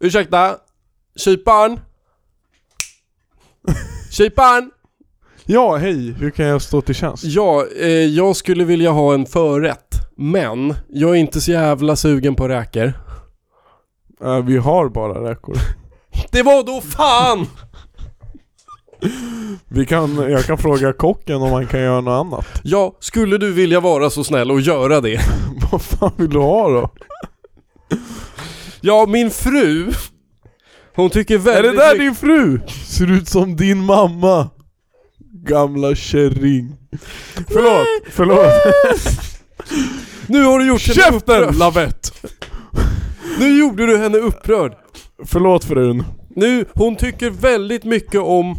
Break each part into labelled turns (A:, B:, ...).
A: Ursäkta? Kyparen? Kyparen?
B: Ja, hej. Hur kan jag stå till tjänst?
A: Ja, eh, jag skulle vilja ha en förrätt. Men jag är inte så jävla sugen på räkor.
B: Eh, vi har bara räkor.
A: Det var då fan!
B: Vi kan, jag kan fråga kocken om han kan göra något annat.
A: Ja, skulle du vilja vara så snäll och göra det?
B: Vad fan vill du ha då?
A: Ja, min fru. Hon tycker
B: Är
A: väldigt...
B: det där
A: mycket-
B: din fru? Ser ut som din mamma. Gamla kärring. Förlåt, förlåt.
A: Nu har du gjort henne upprörd.
B: Käften Lavett!
A: Nu gjorde du henne upprörd.
B: Förlåt frun.
A: Nu, hon tycker väldigt mycket om...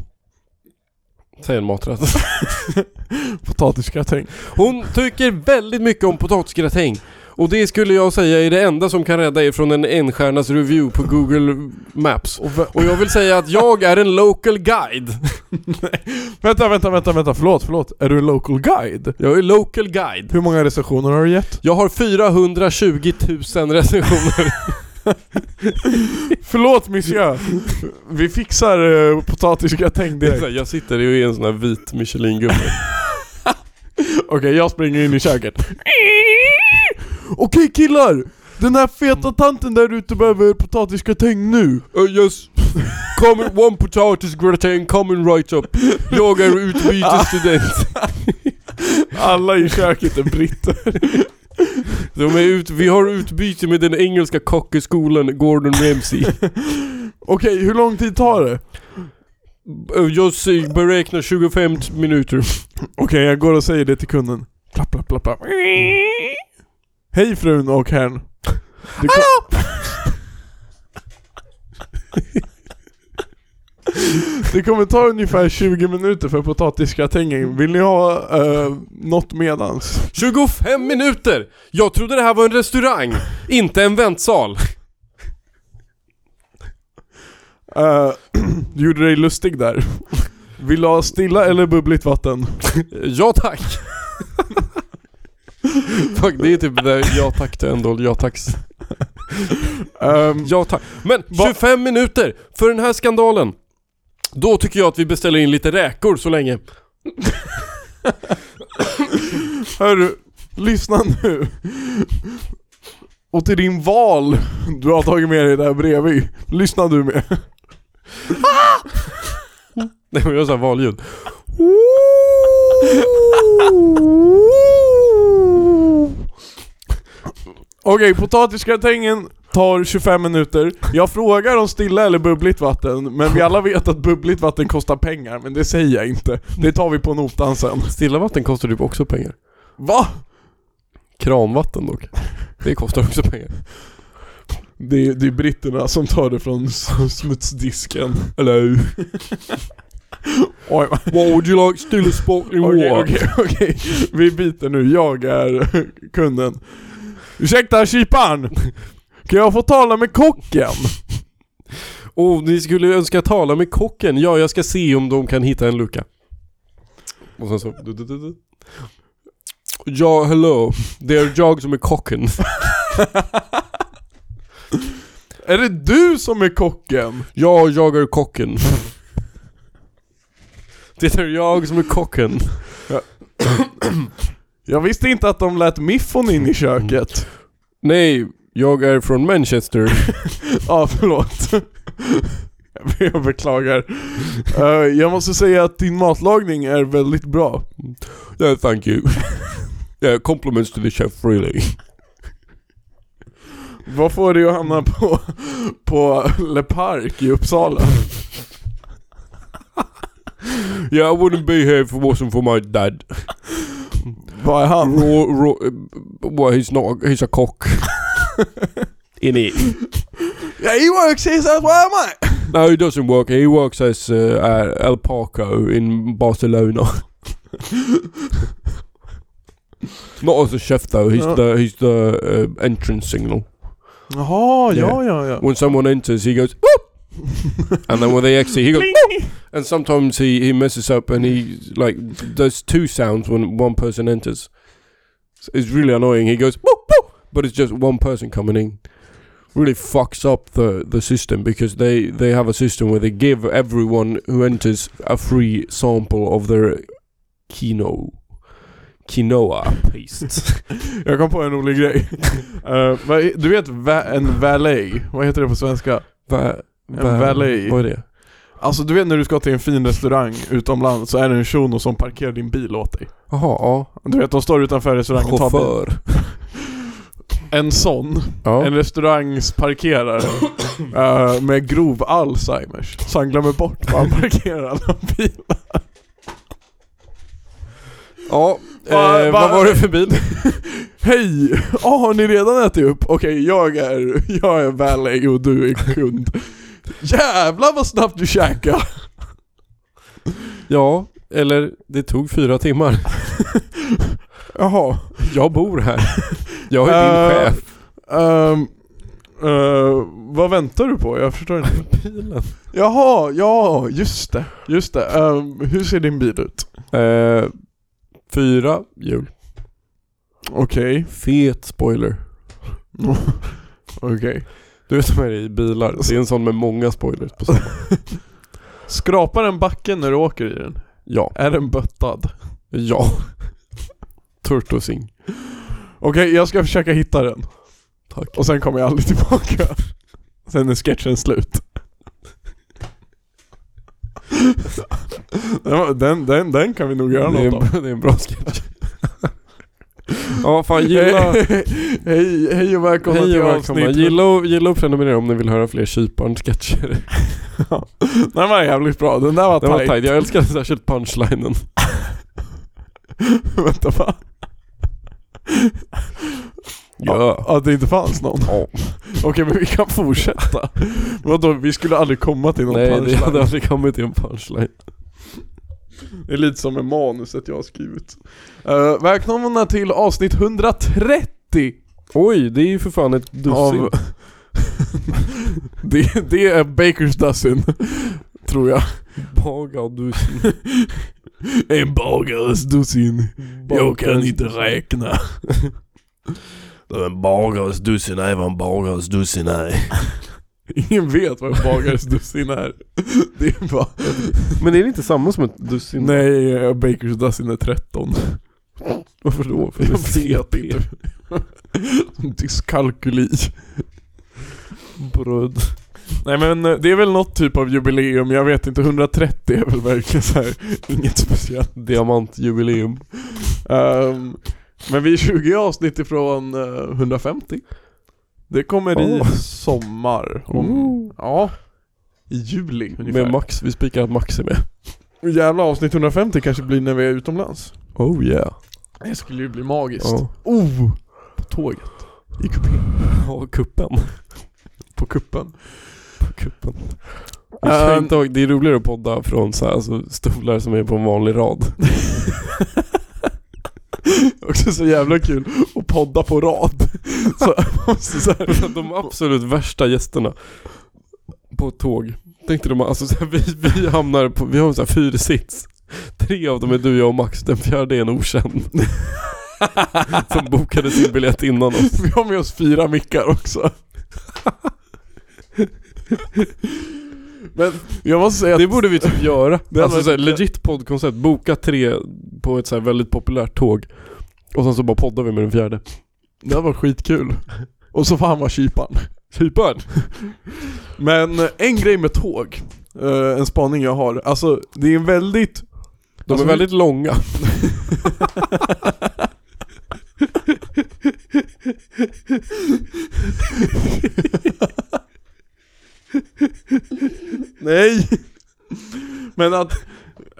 A: Säg en maträtt.
B: Potatisgratäng.
A: Hon tycker väldigt mycket om potatisgratäng. Och det skulle jag säga är det enda som kan rädda er från en enstjärnas review på Google Maps.
B: Och vä-
A: Och jag vill säga att jag är en local guide.
B: vänta, vänta, vänta, vänta. Förlåt, förlåt. Är du en local guide?
A: Jag är local guide.
B: Hur många recensioner har du gett?
A: Jag har 420 000 recensioner.
B: Förlåt monsieur. Vi fixar uh, potatisgratäng
A: Det är så
B: direkt.
A: här, Jag sitter i en sån här vit Michelin-gubbe.
B: Okej, jag springer in i köket. Okej killar! Den här feta tanten där ute behöver potatisgratäng nu.
A: Uh, yes. Coming, one potatis gratin coming right up. Jag är utbytesstudent.
B: Alla i köket är britter.
A: De är ut, vi har utbyte med den engelska kockeskolan Gordon Ramsay.
B: Okej, hur lång tid tar det?
A: Eh, Jag ser- beräknar 25 minuter.
B: Okej, jag går och säger det till kunden. Plapp, plapp, plapp, plapp. Hej frun och herrn. Det kom- Det kommer ta ungefär 20 minuter för potatisgratängen. Vill ni ha uh, något medans?
A: 25 minuter! Jag trodde det här var en restaurang, inte en väntsal.
B: Eh, du gjorde dig lustig där. Vill du ha stilla eller bubbligt vatten?
A: Eh, Ja tack. Fuck, det är typ det där ja tack till en dold ja tack.
B: Ehm,
A: Ja tack. Men
B: Va-
A: 25 minuter för den här skandalen. Då tycker jag att vi beställer in lite räkor så länge.
B: hörru, lyssna nu. Och till din val du har tagit med dig där bredvid. Lyssna du med.
A: Nej men jag gör såhär valljud.
B: Okej, potatisgratängen tar 25 minuter. Jag frågar om stilla eller bubbligt vatten, men vi alla vet att bubbligt vatten kostar pengar, men det säger jag inte. Det tar vi på notan sen.
A: Stilla vatten kostar typ också pengar.
B: Va?
A: Kranvatten dock. Det kostar också pengar.
B: Det är, det är britterna som tar det från s- smutsdisken. Hello. Oj, va-
A: What would you like? Still sparkling
B: okej, okej, okej. Vi byter nu, jag är kunden. Ursäkta kyparen! Kan jag få tala med kocken?
A: Och Oh, ni skulle önska tala med kocken? Ja, jag ska se om de kan hitta en lucka. Och sen så... du, du, du, du. Ja, hello. Det är jag som är kocken.
B: Är det du som är kocken?
A: Ja, jag är kocken. Det är jag som är kocken.
B: Jag visste inte att de lät miffon in i köket.
A: Nej, jag är från Manchester.
B: Ja, förlåt. Jag beklagar. Eh, jag måste säga att din matlagning är väldigt bra.
A: Yeah, thank you. Yeah, compliments to the chef really.
B: Vad får du att hamna på, på Le Park i Uppsala?
A: Yeah, I wouldn't be here if it wasn't for my dad.
B: Vad är han?
A: Raw, raw, well, he's not, he's a cock. In it.
B: Yeah, he works, he says, where am I?
A: No, he doesn't work. He works as uh, uh, El Paco in Barcelona. Not as a chef though. He's
B: No.
A: the he's the uh, entrance signal.
B: Jaha, ja ja ja.
A: When someone enters, he goes whoop, and then when they exit, he goes whoop. And sometimes he he messes up and he like does two sounds when one person enters. So It's really annoying. He goes whoop whoop, but it's just one person coming in. really fucks up the, the system because they, they have a system where they give everyone who enters a free sample of their quino, quinoa paste.
B: Jag kom på en rolig grej. Eh, vad är- du vet va- en valet, vad heter det på svenska?
A: Va,
B: En valet.
A: Vad är det?
B: Alltså du vet när du ska till en fin restaurang utomlands så är det en shuno som parkerar din bil åt dig.
A: Jaha,
B: Du vet de står utanför
A: ja.
B: restaurangen och tar bilen.
A: Chaufför.
B: En sån,
A: Ja.
B: en restaurangsparkerare eh, med grov Alzheimers. Så han glömmer bort var han parkerar alla bilar.
A: Ja,
B: Va-
A: eh,
B: va-
A: vad var det för bil?
B: Hej! Ja, har ni redan ätit upp? Okej, jag är, jag är valet och du är kund. Jävlar vad snabbt du käkar!
A: Ja, eller det tog fyra timmar.
B: Jaha.
A: Jag bor här. Jag är din
B: Eh,
A: chef.
B: Ehm, eh, vad väntar du på? Jag förstår inte.
A: Bilen.
B: Jaha, ja, just det. Just det. Ehm, hur ser din bil ut?
A: Eh, fyra hjul.
B: Okej.
A: Fet spoiler.
B: Okej.
A: Du vet vad det är i bilar? Det är en sån med många spoilers på samma.
B: Skrapar den backen när du åker i den?
A: Ja.
B: Är den böttad?
A: Ja. Turtosing.
B: Okej, jag ska försöka hitta den.
A: Tack.
B: Och sen kommer jag aldrig tillbaka. Sen är sketchen slut. Den, var- den, den, den kan vi nog göra
A: det,
B: något av.
A: är en, det är en bra sketch. ja, fan gilla...
B: hej, hej och välkomna
A: Hej
B: till
A: och välkomna.
B: avsnitt
A: Gilla och, gilla och prenumerera om ni vill höra fler Kyparn-sketcher.
B: Den var jävligt bra, den där var
A: Den var
B: tajt.
A: tajt. Jag älskar särskilt punchlinen.
B: Vänta va?
A: Ja.
B: Att det inte fanns någon?
A: Ja.
B: Okej men vi kan fortsätta. Vadå, vi skulle aldrig komma till någon
A: Nej, det
B: punchline.
A: hade aldrig kommit till en punchline.
B: Det är lite som med manuset jag har skrivit. Uh, välkomna till avsnitt 130
A: Oj, det är ju för fan ett dussin.
B: av... det, det är Bakers Dussin, tror jag.
A: Baga dussin.
B: En bagares dussin. räkna.
C: En bagares dussin är vad en bagares dussin är.
B: Ingen vet vad en bagares dussin är. Det är bara...
A: Men är det inte samma som ett dussin?
B: Nej, eh, Bakers Dussin är 13.
A: Varför då? För det är
B: Jag vet
A: CP.
B: inte. Dyskalkyli.
A: Bröd.
B: Nej men eh, det är väl något typ av jubileum, jag vet inte, 130 är väl verkligen så här inget speciellt.
A: Diamantjubileum.
B: Ehm, men vi är 20 avsnitt ifrån eh, 150. Det kommer i
A: Oh.
B: sommar, om,
A: Oh.
B: ja, i juli ungefär.
A: Med Max, vi spikar att Max är med.
B: Och Jävla avsnitt 150 kanske blir när vi är utomlands.
A: Oh yeah.
B: Det skulle ju bli magiskt.
A: Ja.
B: Oh! På tåget. I kupén.
A: Och kuppen.
B: På kuppen.
A: kuppen. Jag kan
B: Ehm.
A: inte ihåg, det är roligare att podda från så här, alltså, stolar som är på en vanlig rad.
B: Också så jävla kul att podda på rad. Så, så här,
A: De absolut värsta gästerna på ett tåg. Tänkte de, alltså så här, vi, vi hamnar på, vi har så här fyra sits. Tre av dem är du, jag och Max, den fjärde är en okänd. som bokade sin biljett innan oss.
B: Vi har med oss fyra mickar också. Men jag måste säga att
A: Det borde vi typ göra.
B: Det hade
A: alltså
B: varit-
A: såhär, legit poddkoncept, boka tre på ett såhär väldigt populärt tåg. Och sen så bara poddar vi med den fjärde.
B: det här var skitkul. Och så får han vara kyparen.
A: Kyparen!
B: Men eh, en grej med tåg, eh, en spaning jag har, alltså det är en väldigt...
A: De
B: Alltså,
A: är väldigt långa.
B: Nej! Men att,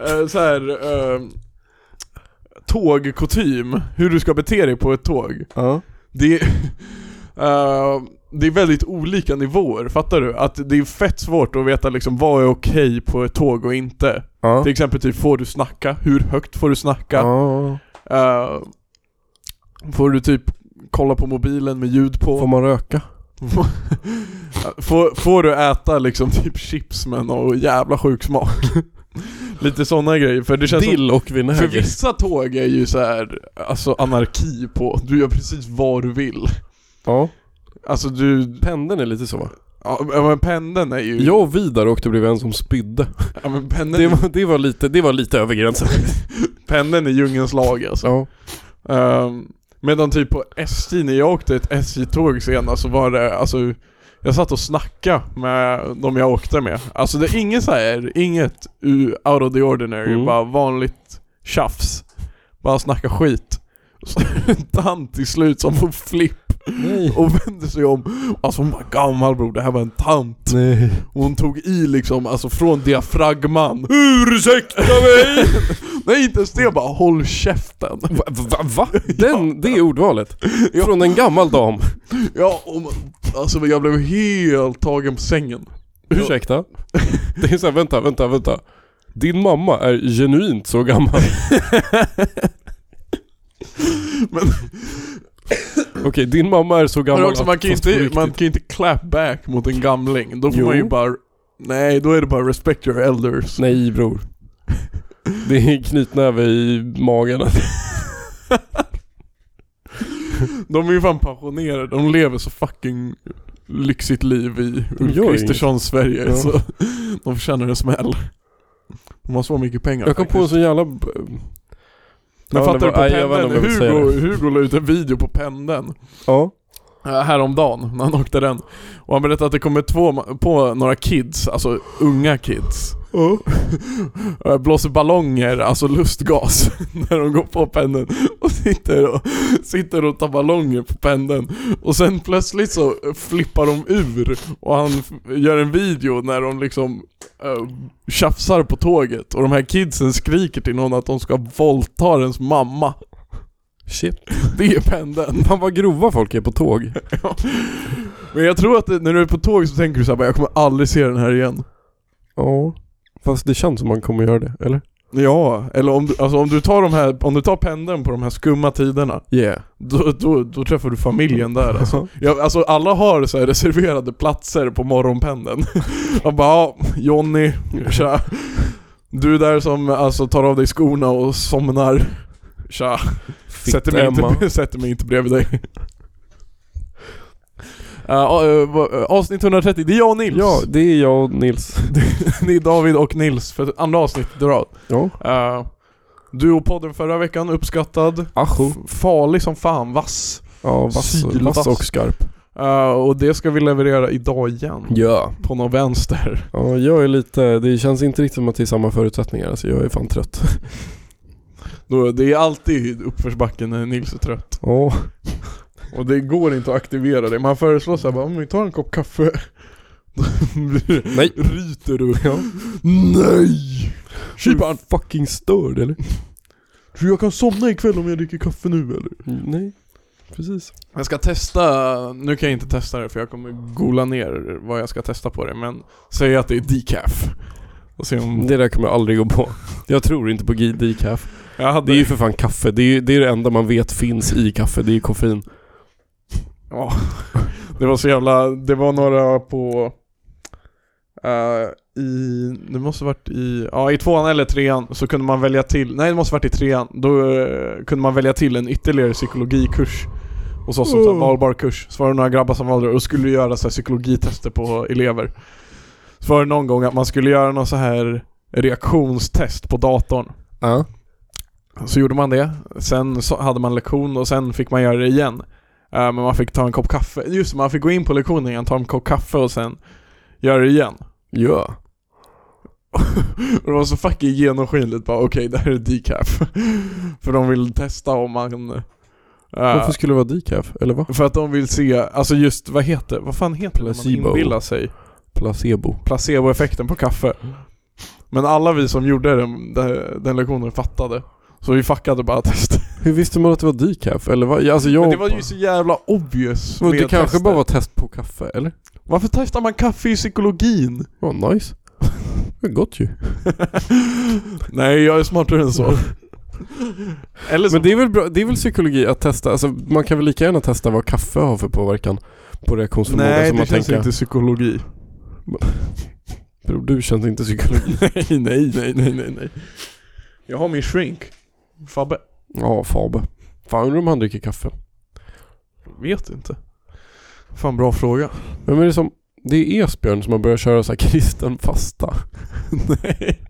B: eh, så här, eh, tågkutym, hur du ska bete dig på ett tåg.
A: Ja.
B: Det är, eh, det är väldigt olika nivåer, fattar du? Att det är fett svårt att veta liksom vad är okej på ett tåg och inte.
A: Ja.
B: Till exempel typ, får du snacka? Hur högt får du snacka?
A: ja.
B: Eh, får du typ kolla på mobilen med ljud på? Eh,
A: Får man röka?
B: Får, får du äta liksom typ chips med någon jävla sjuk smak? Lite sådana grejer, för det känns som,
A: Dill och
B: För
A: vinäger.
B: vissa tåg är ju så här, alltså anarki på, du gör precis vad du vill.
A: Ja.
B: Alltså du...
A: Pendeln är lite så va?
B: Ja men pendeln är ju...
A: Jag och Vidar åkte bredvid en som spydde.
B: Ja, men pendeln,
A: Det var, det var, lite, det var lite över gränsen. liksom.
B: pendeln är djungelns lag alltså.
A: Ja.
B: Ehm, medan typ på SJ, när jag åkte ett SJ-tåg senast så var det alltså jag satt och snackade med de jag åkte med. Alltså det är inget så här, inget u- out of the ordinary,
A: Mm.
B: bara vanligt tjafs. Bara snacka skit. Så är det en tant till slut som får flipp
A: Nej.
B: och vänder sig om. Alltså hon var gammal bror, det här var en tant.
A: Nej.
B: Och hon tog i liksom, alltså från diafragman.
A: Ursäkta mig!
B: Nej inte ens det, jag bara håll käften.
A: Va? va, va? Den, det är ordvalet. Från en gammal dam.
B: Ja, och man, alltså jag blev helt tagen på sängen.
A: Ursäkta? Det är såhär, vänta, vänta, vänta. Din mamma är genuint så gammal. Okej, din mamma är så
B: Men
A: gammal
B: också, man, kan ju
A: alltså, fast på
B: inte,
A: riktigt.
B: man kan ju inte clap back mot en gamling. Då får
A: Jo.
B: man ju bara... Nej, då är det bara respect your elders.
A: Nej bror. Det är knytnäve i magen.
B: De är ju fan pensionerade. De lever så fucking lyxigt liv i
A: De gör
B: Kristerssons Sverige.
A: Ja.
B: Så de förtjänar en smäll. De har så mycket pengar
A: Jag kom på en
B: faktiskt.
A: sån jävla... b-
B: Men
A: Ja, det
B: fattar du
A: var-
B: på
A: nej, jag vet
B: pendeln?
A: inte om jag vill säga
B: Hugo, Hugo la ut en video på pendeln.
A: Ja.
B: eh, häromdagen när han åkte den. Och han berättade att det kommer två ma- på några kids, alltså unga kids. Eh, Blåser ballonger, alltså lustgas, när de går på pendeln. Och sitter och, sitter och tar ballonger på pendeln. Och sen plötsligt så flippar de ur och han f- gör en video när de liksom uh, tjafsar på tåget. Och de här kidsen skriker till någon att de ska våldta ens mamma.
A: Shit.
B: Det är pendeln.
A: Fan vad grova folk är på tåg.
B: Ja. Men jag tror att det, när du är på tåg så tänker du såhär jag kommer aldrig se den här igen.
A: Ja. Fast det känns som man kommer göra det, eller?
B: Ja, eller om du, alltså om du tar de här, om du tar pendeln på de här skumma tiderna,
A: Yeah.
B: då, då, då träffar du familjen där alltså. Ja, alltså alla har så här reserverade platser på morgonpendeln. Man bara, ja, Jonny, tja. Du där som alltså tar av dig skorna och somnar. Tja, sätter mig, inte, sätter mig inte bredvid dig. Eh, a- eh, va- eh, avsnitt 130, det är jag och Nils.
A: Ja, det är jag och Nils.
B: Det är David och Nils för andra avsnittet i rad.
A: Ja.
B: Eh, du och podden förra veckan, uppskattad.
A: Ajo.
B: F- farlig som fan, vass.
A: Ja, vass,
B: Sylvass.
A: vass och skarp.
B: Eh, och det ska vi leverera idag igen.
A: Ja.
B: På någon vänster.
A: Ja, jag är lite... Det känns inte riktigt som att det är samma förutsättningar. Alltså jag är fan trött.
B: Då, det är alltid uppförsbacke när Nils är trött.
A: Ja.
B: Och det går inte att aktivera det. Man föreslår såhär bara, om vi tar en kopp kaffe. Då blir det-
A: Nej.
B: Ryter du?
A: Ja.
B: Nej! Kypan,
A: fucking störd eller?
B: tror du jag kan somna ikväll om jag dricker kaffe nu eller?
A: Nej. Precis.
B: Jag ska testa, nu kan jag inte testa det för jag kommer gola ner vad jag ska testa på det men Säg att det är decaf och se om...
A: Det där kommer jag aldrig gå på. Jag tror inte på G- decaf.
B: jag hade,
A: Det är ju för fan kaffe. Det är ju det, är det enda man vet finns i kaffe. Det är ju koffein.
B: ja, det var så jävla, det var några på eh, i, det måste varit i, ja i tvåan eller trean så kunde man välja till, nej det måste varit i trean, då eh, kunde man välja till en ytterligare psykologikurs och så som så här
A: Oh.
B: valbar kurs. Så var det några grabbar som valde det och skulle göra så här psykologitester på elever. Så var det någon gång att man skulle göra någon så här reaktionstest på datorn.
A: Ja.
B: Så gjorde man det, sen så hade man lektion och sen fick man göra det igen. Eh, men man fick ta en kopp kaffe, just det, man fick gå in på lektionen igen, ta en kopp kaffe och sen göra det igen.
A: Ja.
B: Och det var så fucking genomskinligt bara okej det här är decaf. För de vill testa om man... eh,
A: Varför skulle det vara decaf? Eller vad?
B: För att de vill se, alltså just vad heter, vad fan heter det när
A: Placebo.
B: man inbillar sig?
A: Placebo.
B: Placeboeffekten på kaffe. Men alla vi som gjorde den, den, den lektionen fattade. Så vi fuckade bara testet.
A: Hur visste man att det var decaf? Eller vad? Ja, Alltså jag...
B: Men det var ju så jävla obvious
A: Men det
B: med
A: kanske
B: tester.
A: bara var test på kaffe, eller?
B: Varför testar man kaffe i psykologin?
A: Ja, nice. Det är gott ju.
B: Nej, jag är smartare än så. Eller så...
A: Men det är, väl bra, det är väl psykologi att testa, alltså, man kan väl lika gärna testa vad kaffe har för påverkan på reaktionsförmågan
B: Nej,
A: som
B: det
A: man
B: känns
A: tänker.
B: inte psykologi.
A: Bror, du känns inte psykologi.
B: nej, nej, nej, nej, nej, nej. Jag har min shrink. Fabbe.
A: Ja, Fabe. Fan undrar om han dricker kaffe.
B: Vet inte. Fan bra fråga.
A: Vem är det som... Det är Esbjörn som har börjat köra så här kristen fasta.
B: Nej.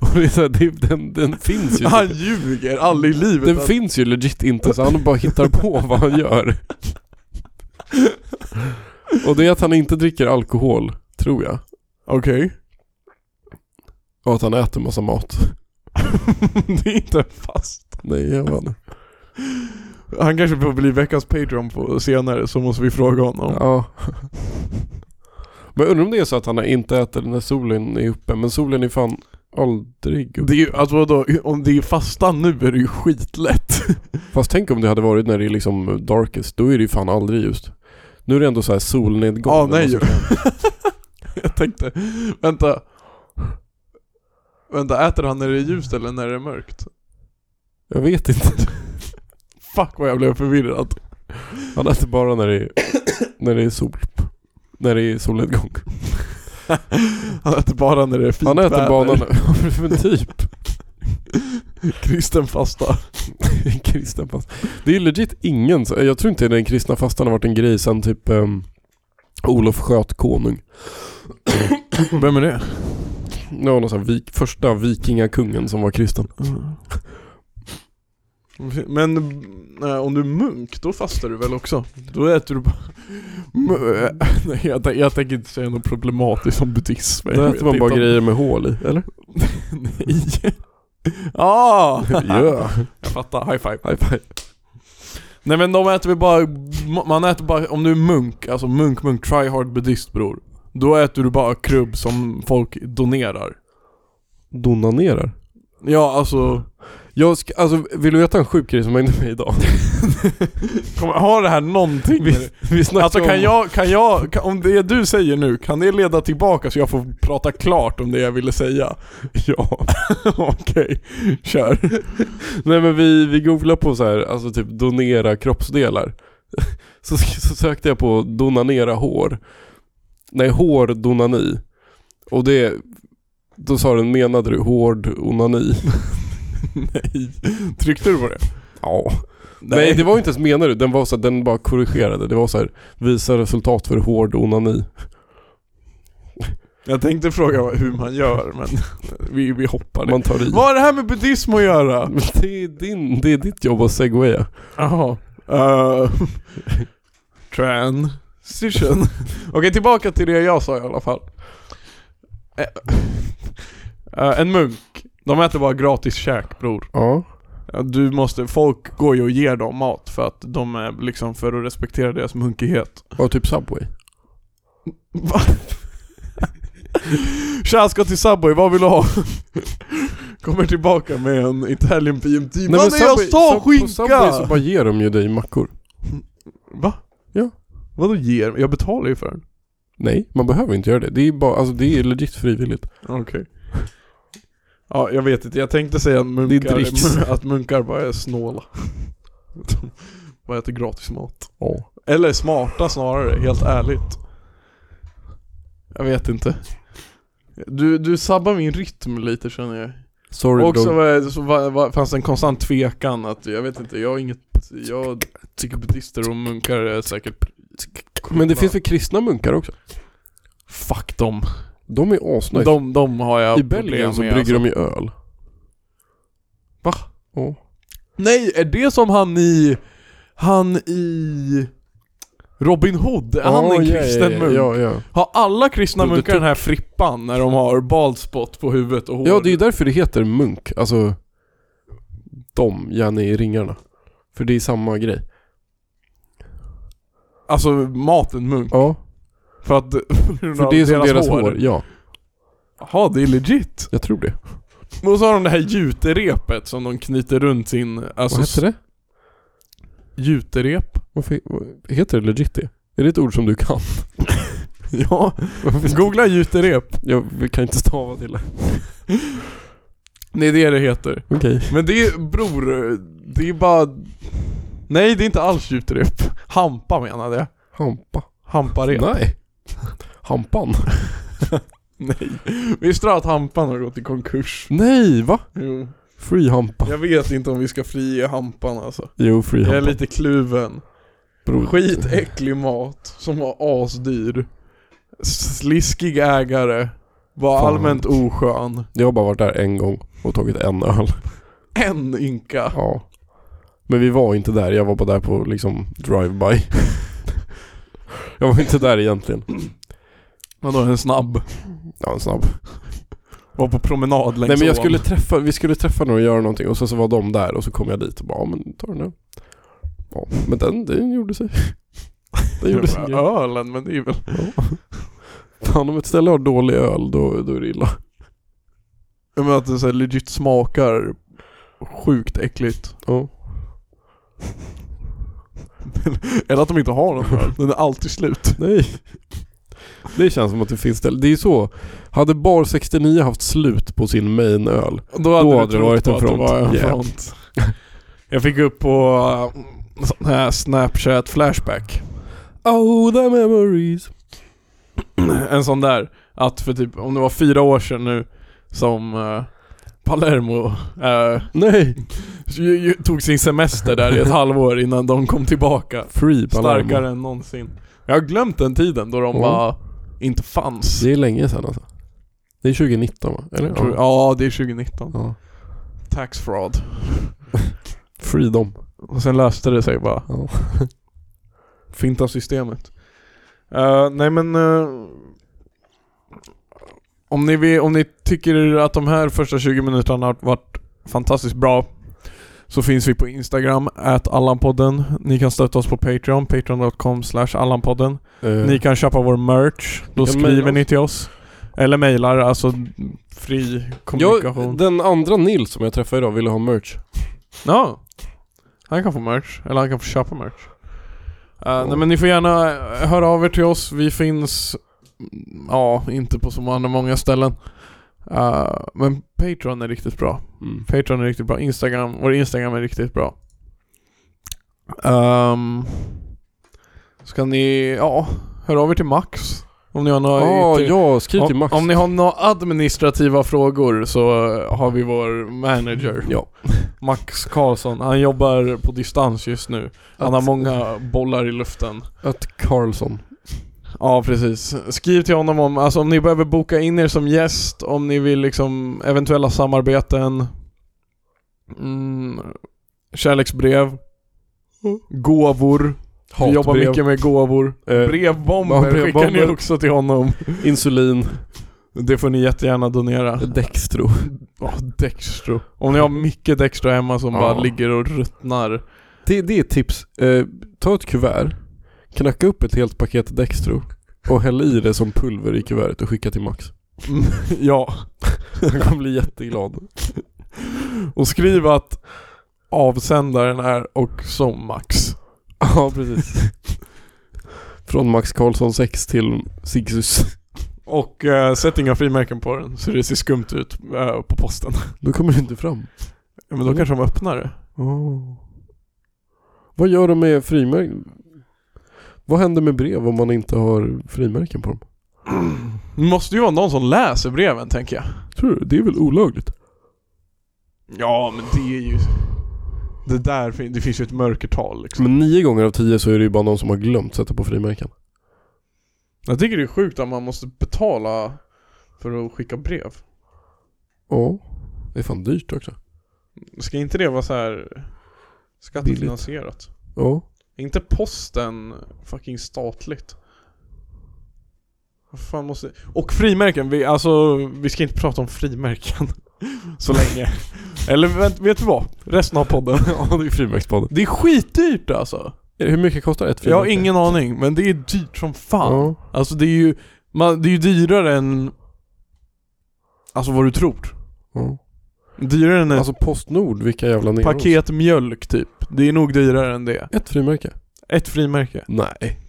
A: Och det är så här, det, den, den finns ju
B: Han
A: inte.
B: ljuger aldrig i livet.
A: Den
B: att-
A: finns ju legit inte så han bara hittar på vad han gör. Och det är att han inte dricker alkohol, tror jag.
B: Okej.
A: Och att han äter massa mat.
B: det är inte fast.
A: Nej, jag vann.
B: Han kanske får bli veckans Patreon på senare så måste vi fråga honom.
A: Ja. Men undrar om det är så att han inte äter när solen är uppe, men solen är fan aldrig uppe.
B: Det är ju, alltså vadå, om det är fasta nu är det ju skitlätt.
A: Fast tänk om det hade varit när det är liksom darkest, då är det ju fan aldrig ljust. Nu är det ändå så här solnedgång.
B: Ja,
A: eller
B: nej.
A: vad som kan-
B: Jag tänkte, vänta. Vänta, äter han när det är ljust eller när det är mörkt?
A: Jag vet inte.
B: Fuck vad jag blev förvirrad.
A: Han äter bara när det är, när det är sol. När det är solnedgång.
B: Han äter bara när det är fint
A: Han äter
B: väder.
A: bara när... Men typ.
B: Kristen fasta.
A: kristen fast. Det är legit ingen... så- Jag tror inte den kristna fastan har varit en grej sen typ um, Olof sköt konung.
B: Vem är det?
A: Det var någon sån här vik, första vikingakungen som var kristen.
B: Men eh, om du är munk, då fastar du väl också? Då äter du bara... Mö- Nej, jag, tän- jag tänker inte säga något problematiskt om buddhism.
A: Där
B: Jag
A: äter man
B: vet
A: bara
B: inte om-
A: grejer med hål i, eller?
B: Nej. Ah!
A: Ja,
B: Jag fattar, high five.
A: high five.
B: Nej men de äter väl bara, man äter bara, om du är munk, alltså munk, munk, try hard buddhist bror. Då äter du bara krubb som folk donerar.
A: Donanerar.
B: Ja alltså,
A: Jag ska, alltså, vill du veta en sjuk grej som hände mig idag?
B: kommer, har det här någonting med det?
A: Vi snackade
B: Alltså kan
A: om-
B: jag, kan jag, kan, om det du säger nu, kan det leda tillbaka så jag får prata klart om det jag ville säga?
A: Ja.
B: Okej, kör.
A: Nej men vi, vi googlade på så här, alltså typ donera kroppsdelar. Så, så sökte jag på donanera hår. Nej, hårdonani. Och det, då sa den menade du hård onani?
B: Nej. Tryckte du på det?
A: Ja. Nej. det var inte ens menar du, den var så här, den bara korrigerade. Det var så här, visa resultat för hård onani.
B: Jag tänkte fråga vad- hur man gör men vi, vi hoppar det.
A: Man tar i.
B: Vad har det här med buddhism att göra?
A: Men Det är, din, det är ditt jobb att segwaya.
B: Jaha. Uh, transition. Okej, tillbaka till det jag sa i alla fall. Eh, eh, en munk, de äter bara gratis käk bror.
A: Ja.
B: Ja, Du måste, folk går ju och ger dem mat för att de är liksom för att respektera deras munkighet.
A: Och typ Subway.
B: Va? Tja, ska till Subway, vad vill du ha? Kommer tillbaka med en Italian PMT. Nej, men jag sa
A: Sub- På Subway så
B: skinka!
A: bara ger de ju dig mackor.
B: Va?
A: Ja.
B: Vadå ger? Jag betalar ju för den.
A: Nej, man behöver inte göra det. Det är, bara, alltså, det är legit frivilligt.
B: Okej. Ja, jag vet inte. Jag tänkte säga att
A: Det dricks.
B: munkar, att munkar bara är snåla. De bara äter gratis mat.
A: Ja.
B: Eller smarta snarare, helt ärligt. Jag vet inte. Du, du sabbar min rytm lite känner jag.
A: Sorry
B: Och så,
A: dog.
B: var, så var, var, fanns det en konstant tvekan att, jag vet inte, jag har inget, jag tycker buddister och munkar är säkert
A: Men det finns väl kristna munkar också?
B: Fuck dem.
A: De är asnice.
B: De, de har jag
A: I
B: alltså.
A: Belgien så brygger de ju öl.
B: Va?
A: Ja.
B: Nej, är det som han i... Han i... Robin Hood? Är han
A: Ja,
B: en
A: ja,
B: kristen
A: ja,
B: munk?
A: Ja, ja.
B: Har alla kristna
A: Broder
B: munkar
A: Tuck.
B: den här frippan när de har bald spot på huvudet och hår?
A: ja, det är ju därför det heter munk. Alltså, de, gärna i ringarna. För det är samma grej.
B: Alltså maten munk.
A: Ja,
B: För att...
A: för det är som deras hår. Ja,
B: Jaha, det är legit.
A: jag tror det.
B: Och så har de det här juterepet som de knyter runt sin... Alltså,
A: Vad heter det?
B: Juterep?
A: Varför, vad- heter det legit det? Är det ett ord som du kan?
B: Ja. Googla juterep.
A: Jag kan inte stava till det.
B: Det är det det heter.
A: Okej.
B: Men det är, bror, det är bara... Nej det är inte alls djuprep. Hampa menade jag.
A: Hampa.
B: Hamparep.
A: Nej. Hampan.
B: Nej. Visste du att Hampan har gått i konkurs?
A: Nej, va?
B: Jo.
A: Free hampa.
B: Jag vet inte om vi ska frige Hampan alltså.
A: Jo, free
B: Jag är
A: hampa.
B: lite kluven.
A: Sprut.
B: Skitäcklig mat som var asdyr. Sliskig ägare. Var
A: Fan.
B: allmänt oskön.
A: Jag har bara varit där en gång och tagit en öl.
B: En ynka.
A: Ja. Men vi var inte där, jag var bara där på liksom drive-by. jag var inte där egentligen.
B: Vadå en snabb?
A: Ja, en snabb.
B: Var på promenad längs
A: Nej men jag
B: ån.
A: skulle träffa, vi skulle träffa någon och göra någonting och sen så var de där och så kom jag dit och bara, ja men ta den nu. Ja, men den, den gjorde sig. Den gjorde sin
B: Det
A: grej.
B: var Ölen, men det är väl...
A: Fan om ett ställe har dålig öl då, då är det illa.
B: Jag menar att det så här legit smakar sjukt äckligt.
A: Ja.
B: Eller att de inte har någon öl. Den är alltid slut.
A: Nej. Det känns som att det finns ställen. Det är ju så. Hade Bar 69 haft slut på sin main öl.
B: Då hade,
A: Då
B: du
A: hade det
B: trott
A: varit en
B: att det
A: front.
B: var en
A: Yeah.
B: front. Jag fick upp på eh, sån här Snapchat Flashback.
A: Oh the memories.
B: En sån där. Att för typ, om det var fyra år sedan nu som eh, Palermo eh,
A: Nej.
B: ju- ju- tog sin semester där i ett halvår innan de kom tillbaka.
A: Free Palermo.
B: Starkare än någonsin. Jag har glömt den tiden då de
A: Ja.
B: bara inte fanns.
A: Det är länge sedan alltså. Det är 2019 va? Eller?
B: Jag tror- Ja, det är 2019.
A: ja.
B: Tax fraud.
A: Freedom.
B: Och sen löste det sig bara.
A: Ja.
B: Finta systemet. Eh, nej men... eh, om, ni vill, om ni tycker att de här första 20 minuterna har varit fantastiskt bra så finns vi på Instagram, at Allanpodden. Ni kan stötta oss på Patreon, patreon.com slash Allanpodden.
A: Eh,
B: Ni kan köpa vår merch, då
A: Ni kan mejla
B: skriver
A: oss.
B: ni till oss. Eller mejlar, alltså fri kommunikation.
A: jag, den andra Nils som jag träffade idag ville ha merch.
B: Ja. Han kan få merch, eller han kan få köpa merch. Eh, Nej men ni får gärna eh, höra av er till oss, vi finns, mm, ja inte på så många, många ställen. Eh, men Patreon är riktigt bra.
A: Mm.
B: Patreon är riktigt bra, Instagram, vår Instagram är riktigt bra. Um, ska ni, ja, höra av er till Max. Om ni har några
A: Ja,
B: ytter-
A: ja, skriv till
B: om,
A: Max.
B: om ni har några administrativa frågor så eh, har vi vår manager.
A: Ja.
B: Max Karlsson, han jobbar på distans just nu. Han har
A: Att-
B: många bollar i luften.
A: Att Carlson.
B: Ja precis. Skriv till honom om, alltså om ni behöver boka in er som gäst, om ni vill liksom eventuella samarbeten, mm, kärleksbrev, gåvor. Vi jobbar
A: Hatbrev.
B: mycket med gåvor.
A: Eh,
B: Brevbomber
A: ja,
B: skickar ni
A: brevbomber.
B: också till honom.
A: Insulin.
B: Det får ni jättegärna donera.
A: Dextro.
B: Ja, Dextro. Om ni har mycket Dextro hemma som
A: Ja.
B: bara ligger och ruttnar.
A: Det, det är ett tips. Eh, ta ett kuvert, knacka upp ett helt paket Dextro och häll i det som pulver i kuvertet och skicka till Max.
B: Mm, ja.
A: Han kommer bli jätteglad.
B: Och skriv att avsändaren är och som Max.
A: ja, precis. Från Max Karlsson 6 till Sigsus.
B: Och eh, sätt inga frimärken på den så det ser skumt ut eh, på posten.
A: Då kommer det inte fram.
B: Ja, Men då kanske de öppnar det.
A: Vad gör de med frimärken? Vad händer med brev om man inte har frimärken på dem?
B: Det måste ju vara någon som läser breven tänker jag.
A: Tror du? Det är väl olagligt?
B: Ja men det är ju... Det där fin- det finns ju ett mörkertal liksom.
A: Men nio gånger av tio så är det ju bara någon som har glömt sätta på frimärken.
B: Jag tycker det är sjukt att man måste betala för att skicka brev.
A: Ja. Det är fan dyrt också.
B: Ska inte det vara så här skattefinansierat?
A: Ja.
B: Är inte posten fucking statligt? Vad fan måste... Och frimärken, vi, alltså vi ska inte prata om frimärken så länge. Eller vänt, vet du vad? Resten av podden.
A: Ja, det är frimärkspodden.
B: Det är skitdyrt alltså.
A: Hur mycket kostar ett
B: Jag har
A: frimärke?
B: ingen aning, men det är dyrt som fan.
A: Ja.
B: Alltså det är ju, man, det är ju dyrare än... Alltså vad du tror.
A: ja.
B: Dyrare än ett
A: Alltså Postnord, vilka jävla neros.
B: paket mjölk typ. Det är nog dyrare än det.
A: Ett frimärke?
B: Ett frimärke.
A: Nej.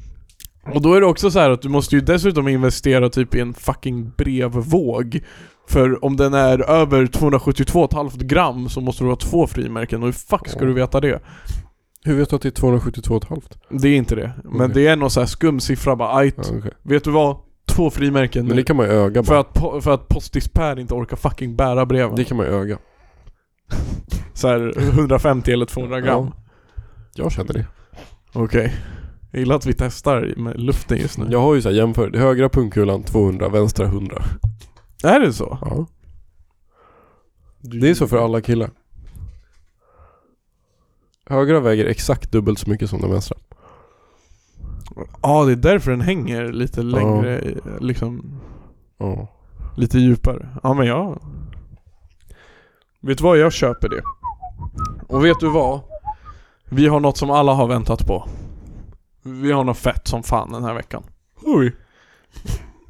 B: Och då är det också så här att du måste ju dessutom investera typ i en fucking brevvåg. För om den är över 272,5 gram så måste du ha två frimärken och hur fuck ska
A: Ja.
B: du veta det?
A: Hur vet du att det är 272,5?
B: Det är inte det. Men
A: Okej.
B: det är någon så här skum siffra bara, ajt.
A: Ja, okej.
B: Vet du vad? Två frimärken
A: Men det
B: nu.
A: kan man ju öga
B: För
A: bara.
B: att, po- för att Postis Per inte orkar fucking bära breven.
A: Det kan man ju öga.
B: Så här 150 eller 200 gram.
A: Jag känner det.
B: Okej. Jag gillar att vi testar med luften just nu.
A: Jag har ju så här jämfört. Högra pungkulan 200, vänstra 100.
B: Är det så?
A: Ja. Det är så för alla killar. Högra väger exakt dubbelt så mycket som den vänstra.
B: Ja, det är därför den hänger lite längre, liksom
A: Ja.
B: lite djupare. Ja, men jag... Vet du vad? Jag köper det. Och vet du vad? Vi har något som alla har väntat på. Vi har något fett som fan den här veckan.
A: Oj.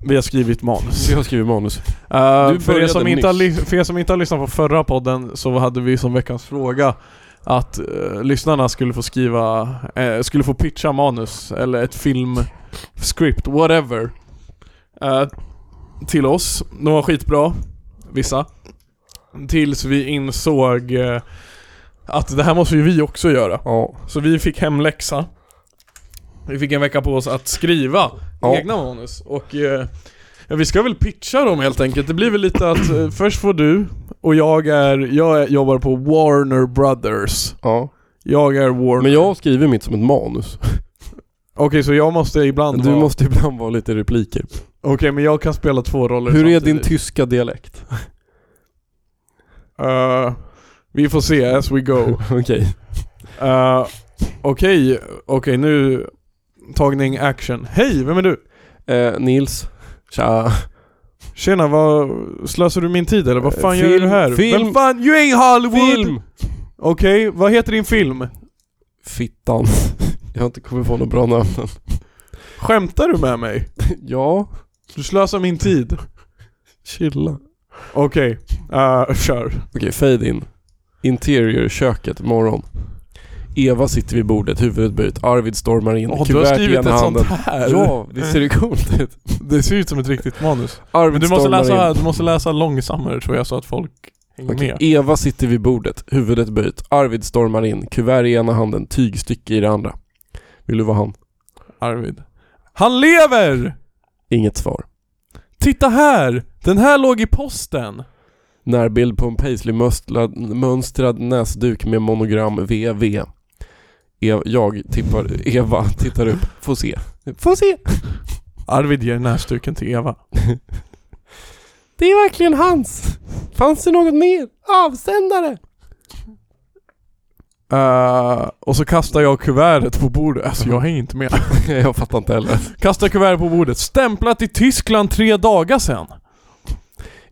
B: Vi har skrivit manus.
A: Vi har skrivit manus.
B: Eh,
A: Du
B: för, er
A: började
B: som inte har
A: nyss.
B: ly- för er som inte har lyssnat på förra podden så hade vi som veckans fråga att eh, lyssnarna skulle få skriva, eh, skulle få pitcha manus eller ett filmscript, whatever. eh, till oss. De var skitbra, vissa. Tills vi insåg eh, att det här måste ju vi också göra.
A: Ja.
B: Så vi fick hemläxa. Vi fick en vecka på oss att skriva
A: Ja.
B: egna manus och eh, ja, vi ska väl pitcha dem helt enkelt. Det blir väl lite att eh, först får du och jag är, jag är, jobbar på Warner Brothers.
A: ja.
B: Jag är Warner.
A: Men jag har skrivit mitt som ett manus.
B: Okej, så jag måste ibland
A: Du
B: vara...
A: måste ibland vara lite repliker.
B: Okej, men jag kan spela två roller
A: Hur är din
B: samtidigt.
A: tyska dialekt?
B: Eh, vi får se as we go.
A: Okej.
B: Eh, Okej, okej nu... Tagning action. Hej, vem är du?
A: Eh, Nils. Tja.
B: Tjena, vad... Slösar du min tid eller? Vad fan
A: Eh, Film,
B: gör du här?
A: film.
B: Vem fan, you ain't Hollywood!
A: Film!
B: Okej, vad heter din film?
A: Fittan. Jag har inte kommit på något bra namn än.
B: Skämtar du med mig?
A: Ja.
B: Du slösar min tid.
A: Chilla.
B: Okej, eh, kör.
A: Okej, fade in. Interior, köket, morgon. Eva sitter vid bordet, huvudet böjt. Arvid stormar in,
B: Åh, du har skrivit ett sånt här.
A: Ja, visst ser det coolt ut?
B: Det ser ut som ett riktigt manus. Men
A: Arvid
B: du måste,
A: stormar
B: läsa,
A: in.
B: du måste läsa långsammare tror jag så att folk hänger
A: Okej,
B: med.
A: Eva sitter vid bordet, huvudet böjt. Arvid stormar in, kuvert i ena handen, tygstycke i det andra. Vill du vara han?
B: Arvid. Han lever!
A: Inget svar.
B: Titta här! Den här låg i posten.
A: Närbild på en paisley-mönstrad mönstrad näsduk med monogram VV. Ev, jag tippar, Eva tittar upp. Får se. Får se!
B: Arvid ger näsduken till Eva.
A: Det är verkligen hans! Fanns det något mer? Avsändare!
B: Eh, och så kastar jag kuvertet på bordet. Alltså jag hänger inte med.
A: jag fattar inte heller.
B: Kastar kuvertet på bordet. Stämplat i Tyskland tre dagar sedan.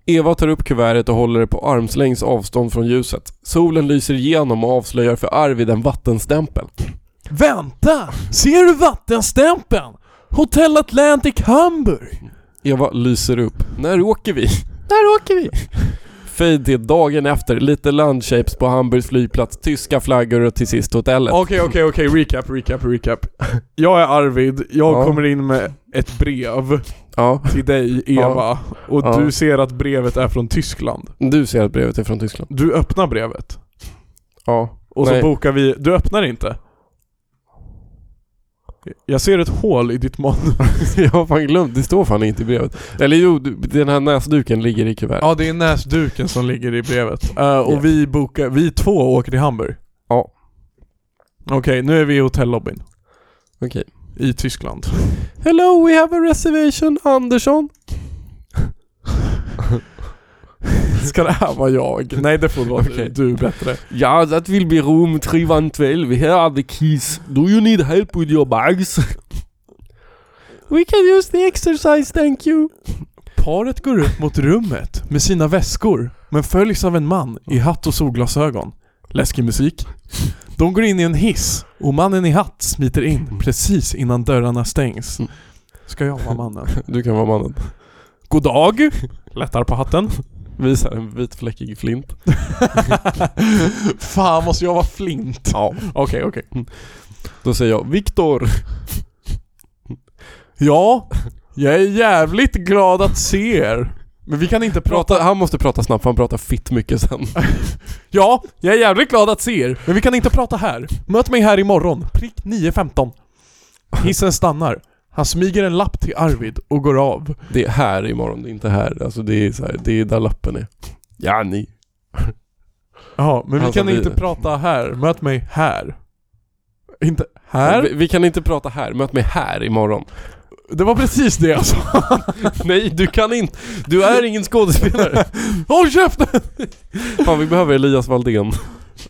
A: Eva tar upp kuvertet och håller det på armslängds avstånd från ljuset. Solen lyser igenom och avslöjar för Arvid en vattenstämpel.
B: Vänta! Ser du vattenstämpeln? Hotel Atlantic Hamburg.
A: Eva lyser upp. När åker vi? När åker vi? Fade till dagen efter, lite landshapes på Hamburgs flygplats, tyska flaggor och till sist hotellet.
B: Okej, okej, okej. Recap, recap, recap. Jag är Arvid. Jag
A: Ja.
B: kommer in med ett brev
A: Ja,
B: till dig, Eva.
A: Ja.
B: Och
A: Ja.
B: du ser att brevet är från Tyskland.
A: du ser att brevet är från Tyskland.
B: Du öppnar brevet.
A: Ja.
B: Och
A: Nej.
B: så bokar vi... Du öppnar inte. Jag ser ett hål i ditt manus.
A: Jag har fan glömt, det står fan inte i brevet. Eller jo, du- den här näsduken ligger i kuvertet.
B: Ja, det är näsduken som ligger i brevet. Eh, och
A: Yeah.
B: vi, bokar, vi två åker till Hamburg.
A: Ja.
B: Okej, nu är vi i hotellobbyn
A: Okej.
B: i Tyskland.
A: Hello, we have a reservation, Andersson.
B: Ska det här vara jag? Nej, det får vara
A: Okej.
B: du. Du är bättre.
A: Ja, that will be room 312. Here are the keys. Do you need help with your bags? We can use the exercise, thank you.
B: Paret går upp mot rummet med sina väskor, men följs av en man i hatt och solglasögon. Läskig musik. De går in i en hiss och mannen i hatt smiter in precis innan dörrarna stängs. Ska jag vara mannen?
A: Du kan vara mannen.
B: God dag! Lättar på hatten.
A: Visar en vitfläckig flint.
B: Fan, måste jag vara flint?
A: Ja.
B: Okej, okej.
A: Då säger jag Viktor.
B: Ja, jag är jävligt glad att se er. Men vi kan inte prata...
A: Prata, han måste prata snabbt för han pratar fitt mycket sen.
B: Ja, jag är jävligt glad att se er. Men vi kan inte prata här. Möt mig här imorgon. Prick 9.15. Hissen stannar. Han smyger en lapp till Arvid och går av.
A: Det är här imorgon, det är inte här. Alltså det är så här, det är där lappen är. Ja, ni.
B: Ja, men vi
A: Alltså,
B: kan
A: vi-
B: inte prata här. Möt mig här. Inte Här?
A: Vi, vi kan inte prata här, möt mig här imorgon.
B: Det var precis det jag sa.
A: Nej, du kan inte. Du är ingen skådespelare.
B: Håll käften!
A: Fan, vi behöver Elias Valdén.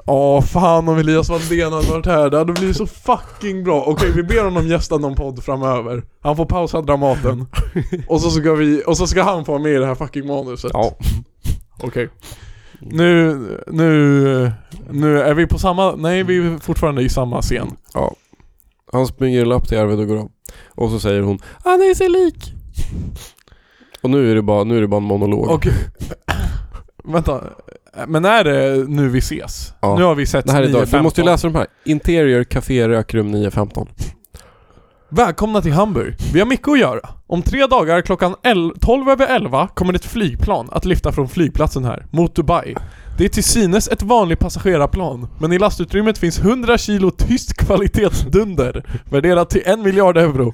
B: Åh fan om Elias Valdén hade varit här, det hade blivit så fucking bra. Okej vi ber honom gästa någon podd framöver. Han får pausa Dramaten. Och så ska, vi, och så ska han få vara med i det här fucking manuset.
A: Ja.
B: Okej. Nu, nu, nu är vi på samma, nej vi är fortfarande i samma scen.
A: ja. Han springer lapp till Arvid och går av. Och så säger hon Han är sig lik. Och nu är det bara, nu är det bara en monolog.
B: Okej. Vänta. Men är det nu vi ses?
A: Ja.
B: Nu har vi sett
A: det här är idag. Du
B: 9.15.
A: måste ju läsa de här. Interior Café Rökrum 9.15.
B: Välkomna till Hamburg. Vi har mycket att göra. Om tre dagar klockan el- 12 över 11 kommer ett flygplan att lyfta från flygplatsen här, mot Dubai. Det är till synes ett vanligt passagerarplan, men i lastutrymmet finns 100 kilo tyst kvalitetsdunder, värderat till en miljard euro.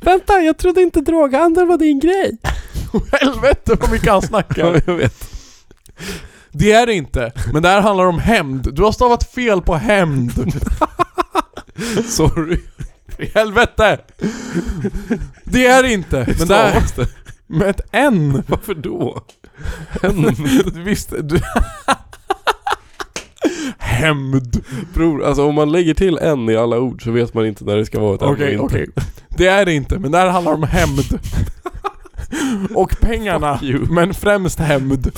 A: Vänta, jag trodde inte droghandel var din grej.
B: Helvete vad mycket han
A: Ja,
B: snackar!
A: jag vet.
B: Det är det inte, men det här handlar om hämnd. Du har stavat fel på hämnd.
A: Sorry.
B: I helvete! Det är det inte, men det är
A: Stavas det?
B: med ett N.
A: Varför då? Mm.
B: Du visste, du... Hämnd.
A: Bror, alltså om man lägger till en i alla ord så vet man inte när det ska vara ett ämne och
B: Okej,
A: inte.
B: okej. Det är det inte, men det här handlar om hämnd. Och pengarna,
A: Fuck you.
B: men främst hämnd.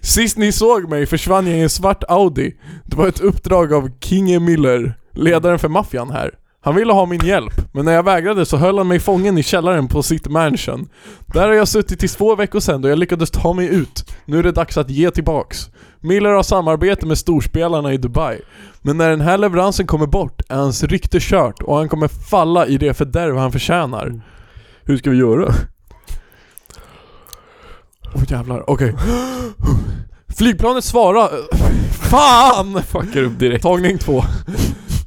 B: Sist ni såg mig försvann jag i en svart Audi. Det var ett uppdrag av Kinge Miller, ledaren för maffian här. Han ville ha min hjälp, men när jag vägrade så höll han mig fången i källaren på sitt mansion. Där har jag suttit i två veckor sedan då jag lyckades ta mig ut. Nu är det dags att ge tillbaks. Miller har samarbete med storspelarna i Dubai. Men när den här leveransen kommer bort är hans rykte kört och han kommer falla i det fördärv han förtjänar.
A: Hur ska vi göra?
B: Åh jävlar, okej. Flygplanet svarar... Fan!
A: Fuckar upp direkt.
B: Tagning två.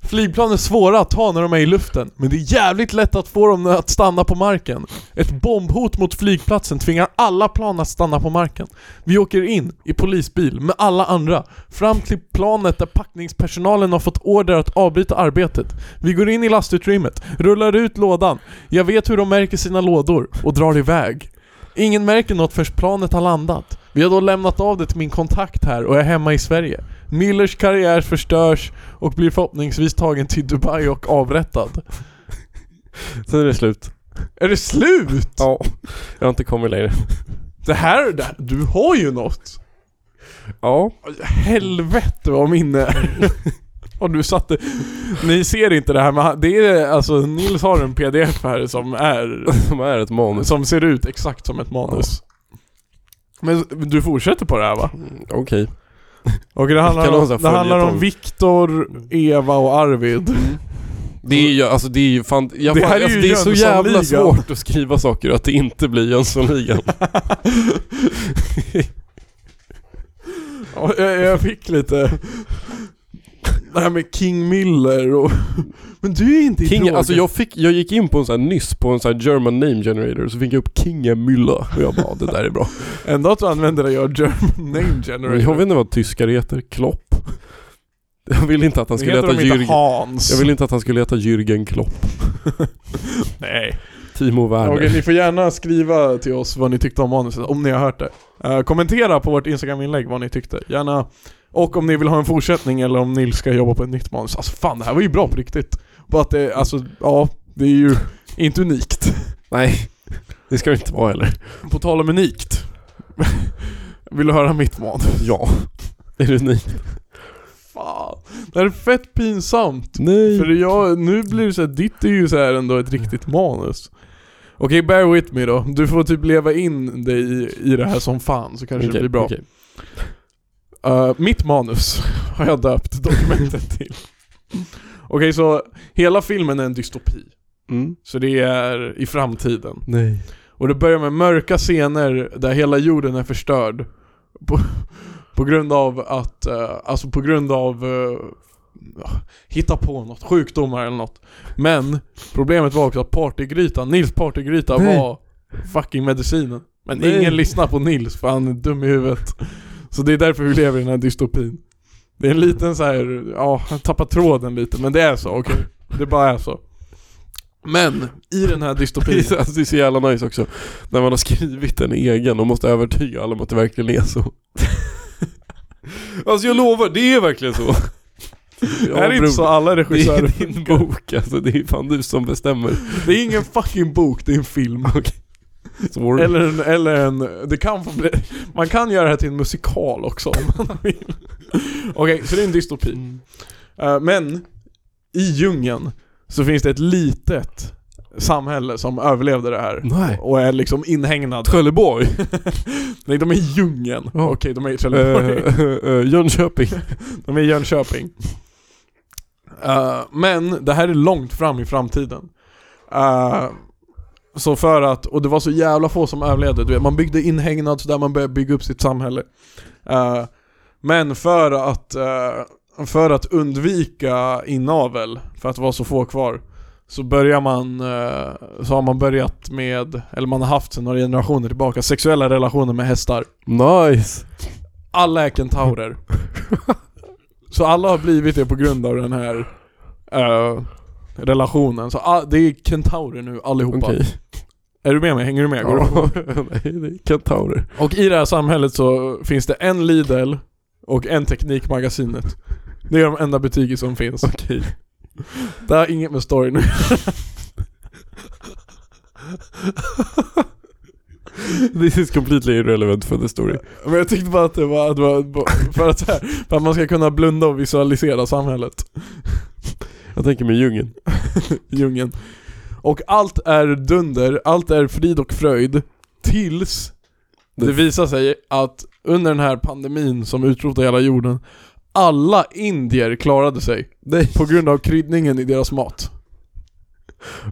B: Flygplan är svåra att ta när de är i luften, men det är jävligt lätt att få dem att stanna på marken. Ett bombhot mot flygplatsen tvingar alla plan att stanna på marken. Vi åker in, i polisbil, med alla andra, fram till planet där packningspersonalen har fått order att avbryta arbetet. Vi går in i lastutrymmet, rullar ut lådan. Jag vet hur de märker sina lådor, och drar iväg. Ingen märker något förrän planet har landat. Vi har då lämnat av det till min kontakt här och är hemma i Sverige. Millers karriär förstörs och blir förhoppningsvis tagen till Dubai och avrättad.
A: Sen är det slut.
B: Är det slut?
A: Ja. Jag har inte kommit längre.
B: Det här, det här du har ju något!
A: Ja.
B: Helvete vad minne är. Och du satte... Ni ser inte det här men han- det är alltså Nils har en pdf här som är...
A: Som är ett manus.
B: Som ser ut exakt som ett manus. Men du fortsätter på det här va?
A: Mm, Okej.
B: Och det handlar,
A: Kan
B: om,
A: någon så här
B: det handlar
A: följetong?
B: om Viktor, Eva och Arvid.
A: Det är ju, alltså det är ju fan, jag,
B: Det
A: fan,
B: här är ju
A: alltså, det är så jävla
B: Jönssonligan.
A: svårt att skriva saker och att det inte blir Jönssonligan.
B: Ja, jag, jag fick lite... Det här med King Miller och... Men du är inte i
A: King,
B: droger.
A: alltså jag fick, jag gick in på en sån här nyss på en sån här German name generator så fick jag upp Kinge Müller och jag bara det där är bra.
B: Ändå att du använder dig av German Name
A: Men jag
B: Generator.
A: vet inte vad tyskar heter, Klopp. Jag ville inte att han
B: Det
A: skulle
B: heter
A: heta
B: de inte
A: Jürgen.
B: Hans.
A: Jag ville inte att han skulle heta Jürgen Klopp.
B: Nej.
A: Timo Werner.
B: Okej, ni får gärna skriva till oss vad ni tyckte om manuset, om ni har hört det. Eh, kommentera på vårt Instagram-inlägg vad ni tyckte. Gärna. Och om ni vill ha en fortsättning eller om Nils ska jobba på ett nytt manus. Alltså fan, det här var ju bra på riktigt. Bara att det, alltså, ja, det är ju inte unikt.
A: Nej. Det ska det inte vara heller.
B: På tal om unikt. Vill du höra mitt manus?
A: Ja. Är det ni?
B: Fan. Det här är fett pinsamt.
A: Nej.
B: För jag, nu blir det så här, ditt är ju så här ändå ett riktigt manus. Okej, bear with me då. Du får typ leva in dig i, i det här som fan så kanske det blir bra.
A: okej.
B: Eh, mitt manus har jag döpt dokumentet till. Okej, så hela filmen är en dystopi.
A: Mm.
B: Så det är i framtiden.
A: Nej.
B: Och det börjar med mörka scener där hela jorden är förstörd. På, på grund av att, eh, alltså på grund av eh, ah, hitta på något, sjukdomar eller något. Men problemet var också att partygrytan, Nils partygryta
A: Nej.
B: var fucking medicinen. Men
A: Nej.
B: ingen lyssnar på Nils för han är dum i huvudet. Så det är därför vi lever i den här dystopin. Det är en liten så här, ja, han tappar tråden lite men det är så, okej. Det bara är så. Men i den här
A: Det är,
B: dystopin
A: så- alltså, det är så jävla nice också. När man har skrivit en egen och måste övertyga alla om att det verkligen är så. alltså jag lovar, det är verkligen så.
B: Det här är inte så alla
A: Det är
B: regissörer
A: din bok alltså, det är fan du som bestämmer.
B: Det är ingen fucking bok, det är en film.
A: Sorry.
B: Eller en, eller en det kan få bli, man kan göra det här till en musikal också om man vill. Okej, så det är en dystopi.
A: Mm.
B: Eh, Men i djungeln så finns det ett litet samhälle som överlevde det här.
A: Nej.
B: Och är liksom inhägnad.
A: Trelleborg.
B: Nej, de är i djungeln.
A: Ja.
B: Okej, de är i
A: Eh,
B: Trelleborg.
A: eh, eh, Jönköping.
B: De är i Jönköping. Eh, men det här är långt fram i framtiden. Eh, så för att, och det var så jävla få som överlevde. Du vet, man byggde inhägnad så där man började bygga upp sitt samhälle. Eh, men för att, eh, för att undvika inavel, för att det var så få kvar, så börjar man, eh, så har man börjat med, eller man har haft sedan några generationer tillbaka, sexuella relationer med hästar.
A: Nice.
B: Alla är kentaurer. så alla har blivit det på grund av den här eh, relationen. Så ah, det är kentaurer nu allihopa.
A: Okej.
B: Är du med mig? Hänger du med? Går du
A: Ja. Nej, det är kentaurer.
B: på? Och i det här samhället så finns det en Lidl och en Teknikmagasinet. Det är de enda butiker som finns.
A: Okej.
B: Det har inget med story nu.
A: This is completely irrelevant for the story.
B: Men jag tyckte bara att det var, att det var för, att, så här, för att man ska kunna blunda och visualisera samhället.
A: Jag tänker med djungeln.
B: djungeln. Och allt är dunder, allt är frid och fröjd tills det
A: Det-
B: visar sig att under den här pandemin som utrotade hela jorden, alla indier klarade sig på grund av kryddningen i deras mat.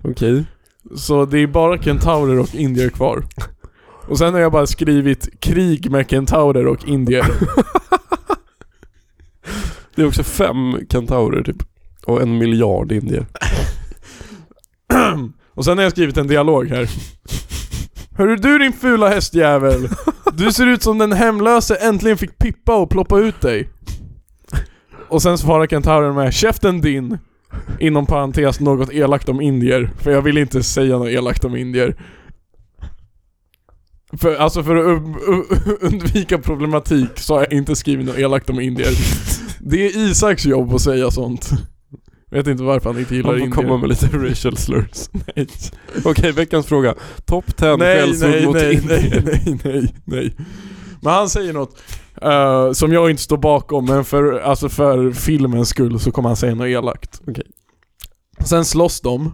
A: Okej.
B: Så det är bara kentaurer och indier kvar. Och sen har jag bara skrivit krig med kentaurer och indier.
A: Det är också fem kentaurer typ. Och en miljard indier.
B: Och sen har jag skrivit en dialog här. Hörru du din fula hästjävel. Du ser ut som den hemlöse äntligen fick pippa och ploppa ut dig. Och sen svarar kentauren med 'Käften din' Inom parentes något elakt om indier. För jag vill inte säga något elakt om indier. För, alltså för att um- u- undvika problematik så har jag inte skrivit något elakt om indier. Det är Isaks jobb att säga sånt. Vet inte varför han inte gillar
A: Man får
B: indier.
A: komma med lite racial slurs. Nej. Okej, veckans fråga. Topp 10
B: nej,
A: skällsord
B: nej,
A: mot
B: nej,
A: indier.
B: nej, nej, nej, nej. Men han säger något eh, som jag inte står bakom, men för, alltså för filmens skull så kommer han säga något elakt.
A: Okej.
B: Sen slåss de.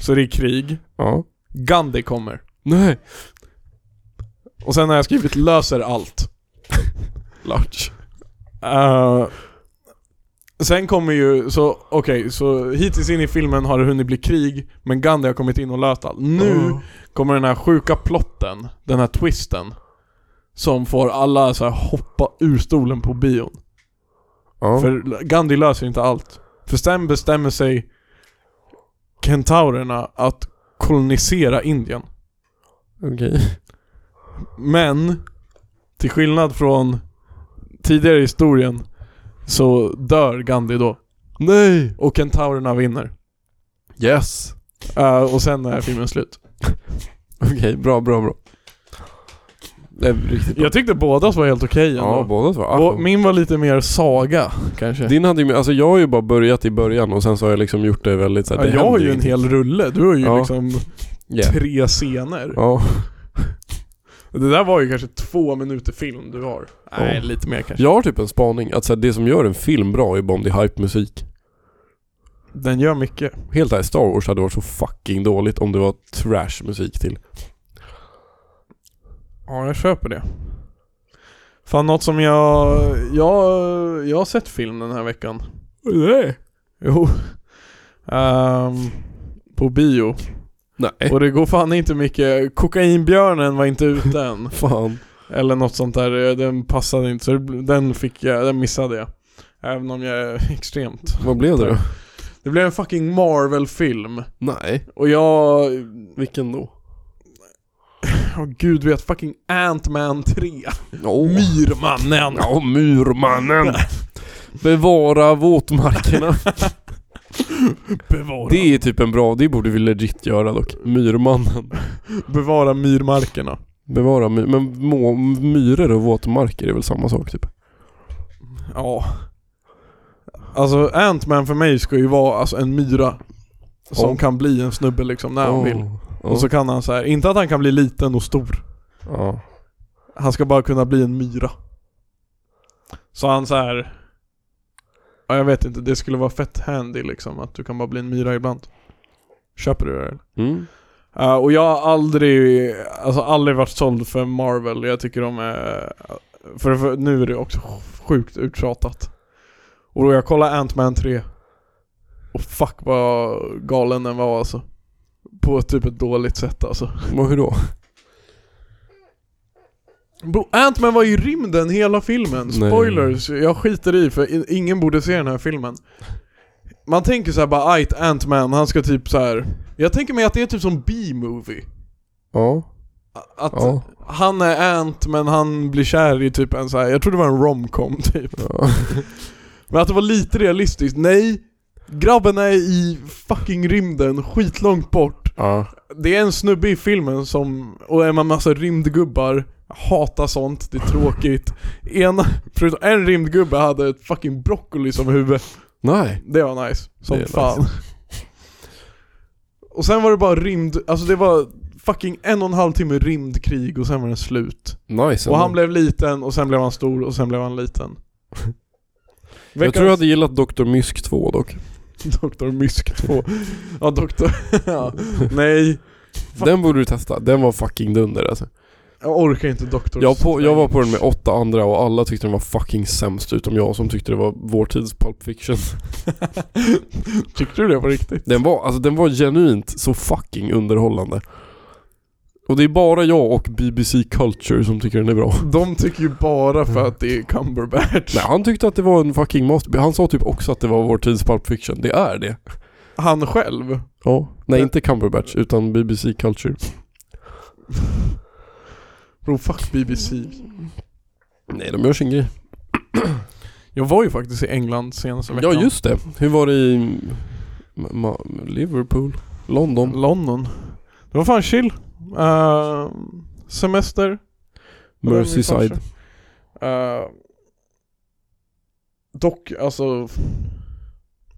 B: Så det är krig.
A: Ja.
B: Gandhi kommer.
A: Nej.
B: Och sen har jag skrivit löser allt.
A: Large.
B: Eh, sen kommer ju, så okej, så hittills in i filmen har det hunnit bli krig, men Gandhi har kommit in och löst allt. Nu
A: Oh.
B: kommer den här sjuka plotten, den här twisten som får alla så här hoppa ur stolen på bion.
A: Ja.
B: För Gandhi löser inte allt. För sen bestämmer sig kentaurerna att kolonisera Indien.
A: Okej.
B: Men till skillnad från tidigare i historien så dör Gandhi då.
A: Nej.
B: Och kentaurerna vinner.
A: Yes.
B: Eh, och sen är filmen slut.
A: Okej, bra, bra, bra. Det är riktigt bra.
B: Jag tyckte bådas var helt okej
A: Ja,
B: ändå.
A: båda två.
B: Vå-
A: Ah,
B: Min var lite mer saga kanske.
A: Din hade ju, alltså jag har ju bara börjat i början och sen så har jag liksom gjort det väldigt såhär,
B: Ja, jag har ju en hel rulle, du har ju
A: Ja.
B: liksom
A: yeah.
B: tre scener.
A: Ja,
B: Det där var ju kanske två minuter film du har. Nej,
A: Ja.
B: lite mer kanske.
A: jag har typ en spaning att såhär, det som gör en film bra är bara om det är hype-musik.
B: Den gör mycket.
A: Helt ärligt, Star Wars hade varit så fucking dåligt om det var trash-musik till.
B: Ja, jag köper det. Fan, något som jag... Jag, jag har sett film den här veckan. Nej. Jo. Ehm, på bio.
A: Nej.
B: Och det går fan inte mycket. Kokainbjörnen var inte ute än.
A: Fan.
B: Eller något sånt där, den passade inte så det bl- den fick jag, den missade jag. Även om jag är extremt.
A: Vad blev det då?
B: Det blev en fucking Marvel-film.
A: Nej.
B: Och jag,
A: Vilken då?
B: oh, gud vet, fucking Ant-Man 3.
A: Oh.
B: Myrmannen.
A: Ja, murmannen. Bevara våtmarkerna.
B: Bevara,
A: Det är typ en bra, det borde vi legit göra dock. Myrmannen.
B: bevara myrmarkerna.
A: Bevara my- men må, myror och våtmarker är väl samma sak typ?
B: Ja. Alltså Ant-Man för mig ska ju vara alltså, en myra. Som
A: Ja.
B: kan bli en snubbe liksom när han
A: Åh,
B: vill.
A: ja.
B: Och så kan han så här, inte att han kan bli liten och stor.
A: ja.
B: Han ska bara kunna bli en myra. Så han så här. Ja jag vet inte, det skulle vara fett handy liksom att du kan bara bli en myra ibland. Köper du det eller?
A: Mm.
B: Ja, Eh, och jag har aldrig, alltså aldrig varit såld för Marvel. Jag tycker de är... För, för nu är det också sjukt uttjatat. Och då jag kollade Ant-Man 3. Och fuck vad galen den var alltså. På typ ett dåligt sätt alltså.
A: Och hur då?
B: Bro, Ant-Man var i rymden hela filmen.
A: Nej.
B: Spoilers, jag skiter i för i- ingen borde se den här filmen. Man tänker så här bara "Ajt, Ant-Man, han ska typ så här. Jag tänker mig att det är typ som B-movie.
A: Ja.
B: Att
A: Ja.
B: han är Ant men han blir kär i typ en så här. jag tror det var en romcom typ.
A: ja.
B: Men att det var lite realistiskt, nej. Grabben är i fucking rymden, skitlångt bort.
A: ja.
B: Det är en snubbe i filmen som, och är man massa rymdgubbar, jag hatar sånt, det är tråkigt. Ena, förutom en rymdgubbe hade ett fucking broccoli som huvud.
A: Nej.
B: Det var nice,
A: Det
B: som
A: är
B: fan. Och sen var det bara rymd, alltså det var fucking en och en halv timme rymdkrig och sen var det slut.
A: Nice. Mm.
B: Och
A: ändå.
B: han blev liten och sen blev han stor och sen blev han liten.
A: jag tror jag hade gillat Dr. Mysk 2 dock.
B: Doktor Mysk 2. Ja, doktor. ja. Nej,
A: Den borde du testa. Den var fucking dunder alltså.
B: jag orkar inte doktor.
A: Jag, på, jag var på den med åtta andra och alla tyckte den var fucking sämst utom jag som tyckte det var vår tids Pulp Fiction.
B: Tyckte du det på riktigt?
A: Den var, alltså, den var genuint så fucking underhållande. Och det är bara jag och BBC Culture som tycker den är bra.
B: De tycker ju bara för att det är Cumberbatch.
A: Nej, han tyckte att det var en fucking master... Han sa typ också att det var vår tids Pulp Fiction. Det är det.
B: Han själv.
A: Ja. Nej, inte Cumberbatch utan BBC Culture.
B: Bro, fuck BBC.
A: Nej, de gör sin grej.
B: Jag var ju faktiskt i England senaste
A: Ja,
B: veckan.
A: just det. Hur var det i... Ma- Ma- Liverpool? London?
B: London. Det var fan chill. Eh, semester.
A: Merseyside?
B: Eh, dock, alltså...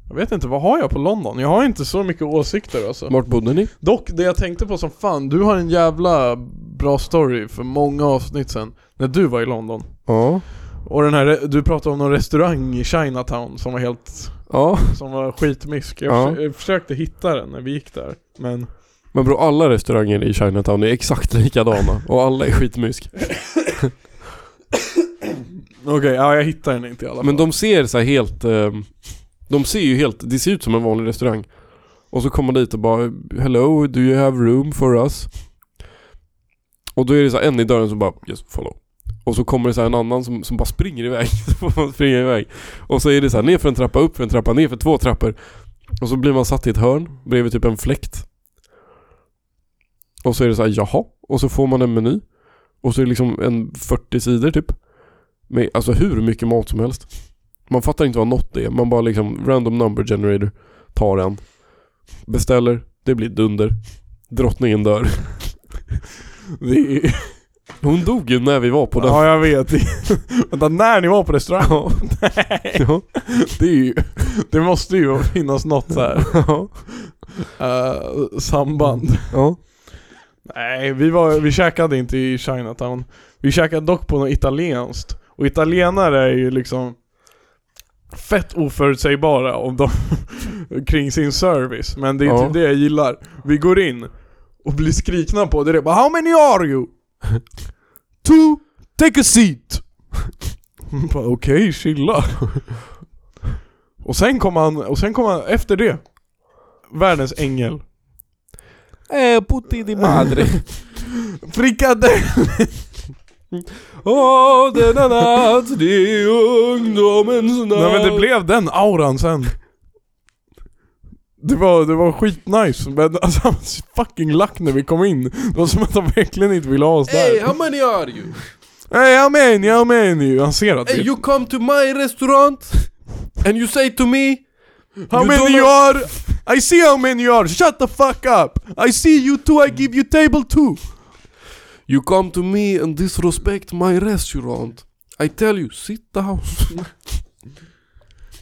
B: Jag vet inte, vad har jag på London? Jag har inte så mycket åsikter alltså.
A: Vart bodde ni?
B: Dock, det jag tänkte på som fan, du har en jävla bra story för många avsnitt sen, när du var i London.
A: Ja.
B: Och den här, du pratade om någon restaurang i Chinatown som var helt,
A: Ja.
B: som var skitmysk. Jag,
A: Ja.
B: försö- jag försökte hitta den när vi gick där, men...
A: Men bro, alla restauranger i Chinatown är exakt likadana och alla är skitmysk.
B: Okej, ja jag hittar den inte i alla fall.
A: Men de ser så här helt... ehm, De ser ju helt... Det ser ut som en vanlig restaurang. Och så kommer man dit och bara Hello, do you have room for us? Och då är det så här en i dörren som bara Yes, follow. Och så kommer det så här en annan som, som bara springer iväg. Så får man springa iväg. Och så är det så här ner för en trappa, upp för en trappa, ner för två trappor. Och så blir man satt i ett hörn bredvid typ en fläkt. Och så är det så här jaha. Och så får man en meny. Och så är det liksom en 40 sidor typ. Med, alltså hur mycket mat som helst. Man fattar inte vad något är. Man bara liksom random number generator. Tar en. Beställer. Det blir dunder. Drottningen dör.
B: Det är...
A: Hon dog ju när vi var på den.
B: Ja jag vet. Vänta, när ni var på restaurang? Nej.
A: Ja.
B: Det, är ju, det måste ju finnas något så här,
A: Ja.
B: eh, samband.
A: Ja.
B: Nej, vi, var, vi käkade inte i Chinatown. Vi käkade dock på något italienskt. Och italienare är ju liksom fett oförutsägbara om de kring sin service. Men det är
A: Ja.
B: typ det jag gillar. Vi går in och blir skrikna på direkt. Bara, How many are you? Two, take a seat! Bara, Okej, chilla. Och sen kom han, och sen kom han efter det. Världens ängel.
A: Eh, putti di madre.
B: Frikadell!
A: Åh, denna natt, det är ungdomens natt.
B: Nej men det blev den auran sen. Det var, det var skitnice, men alltså han var fucking lack när vi kom in. Det var som att han verkligen inte ville ha oss
A: Hey,
B: där.
A: how many are you?
B: Hey, jag menar, jag menar ju. Han ser att
A: Hey,
B: vi...
A: you come to my restaurant and you say to me
B: How
A: You don't
B: many you
A: know-
B: are? I see how many you are. Shut the fuck up. I see you two. I give you table two.
A: You come to me and disrespect my restaurant. I tell you, sit down.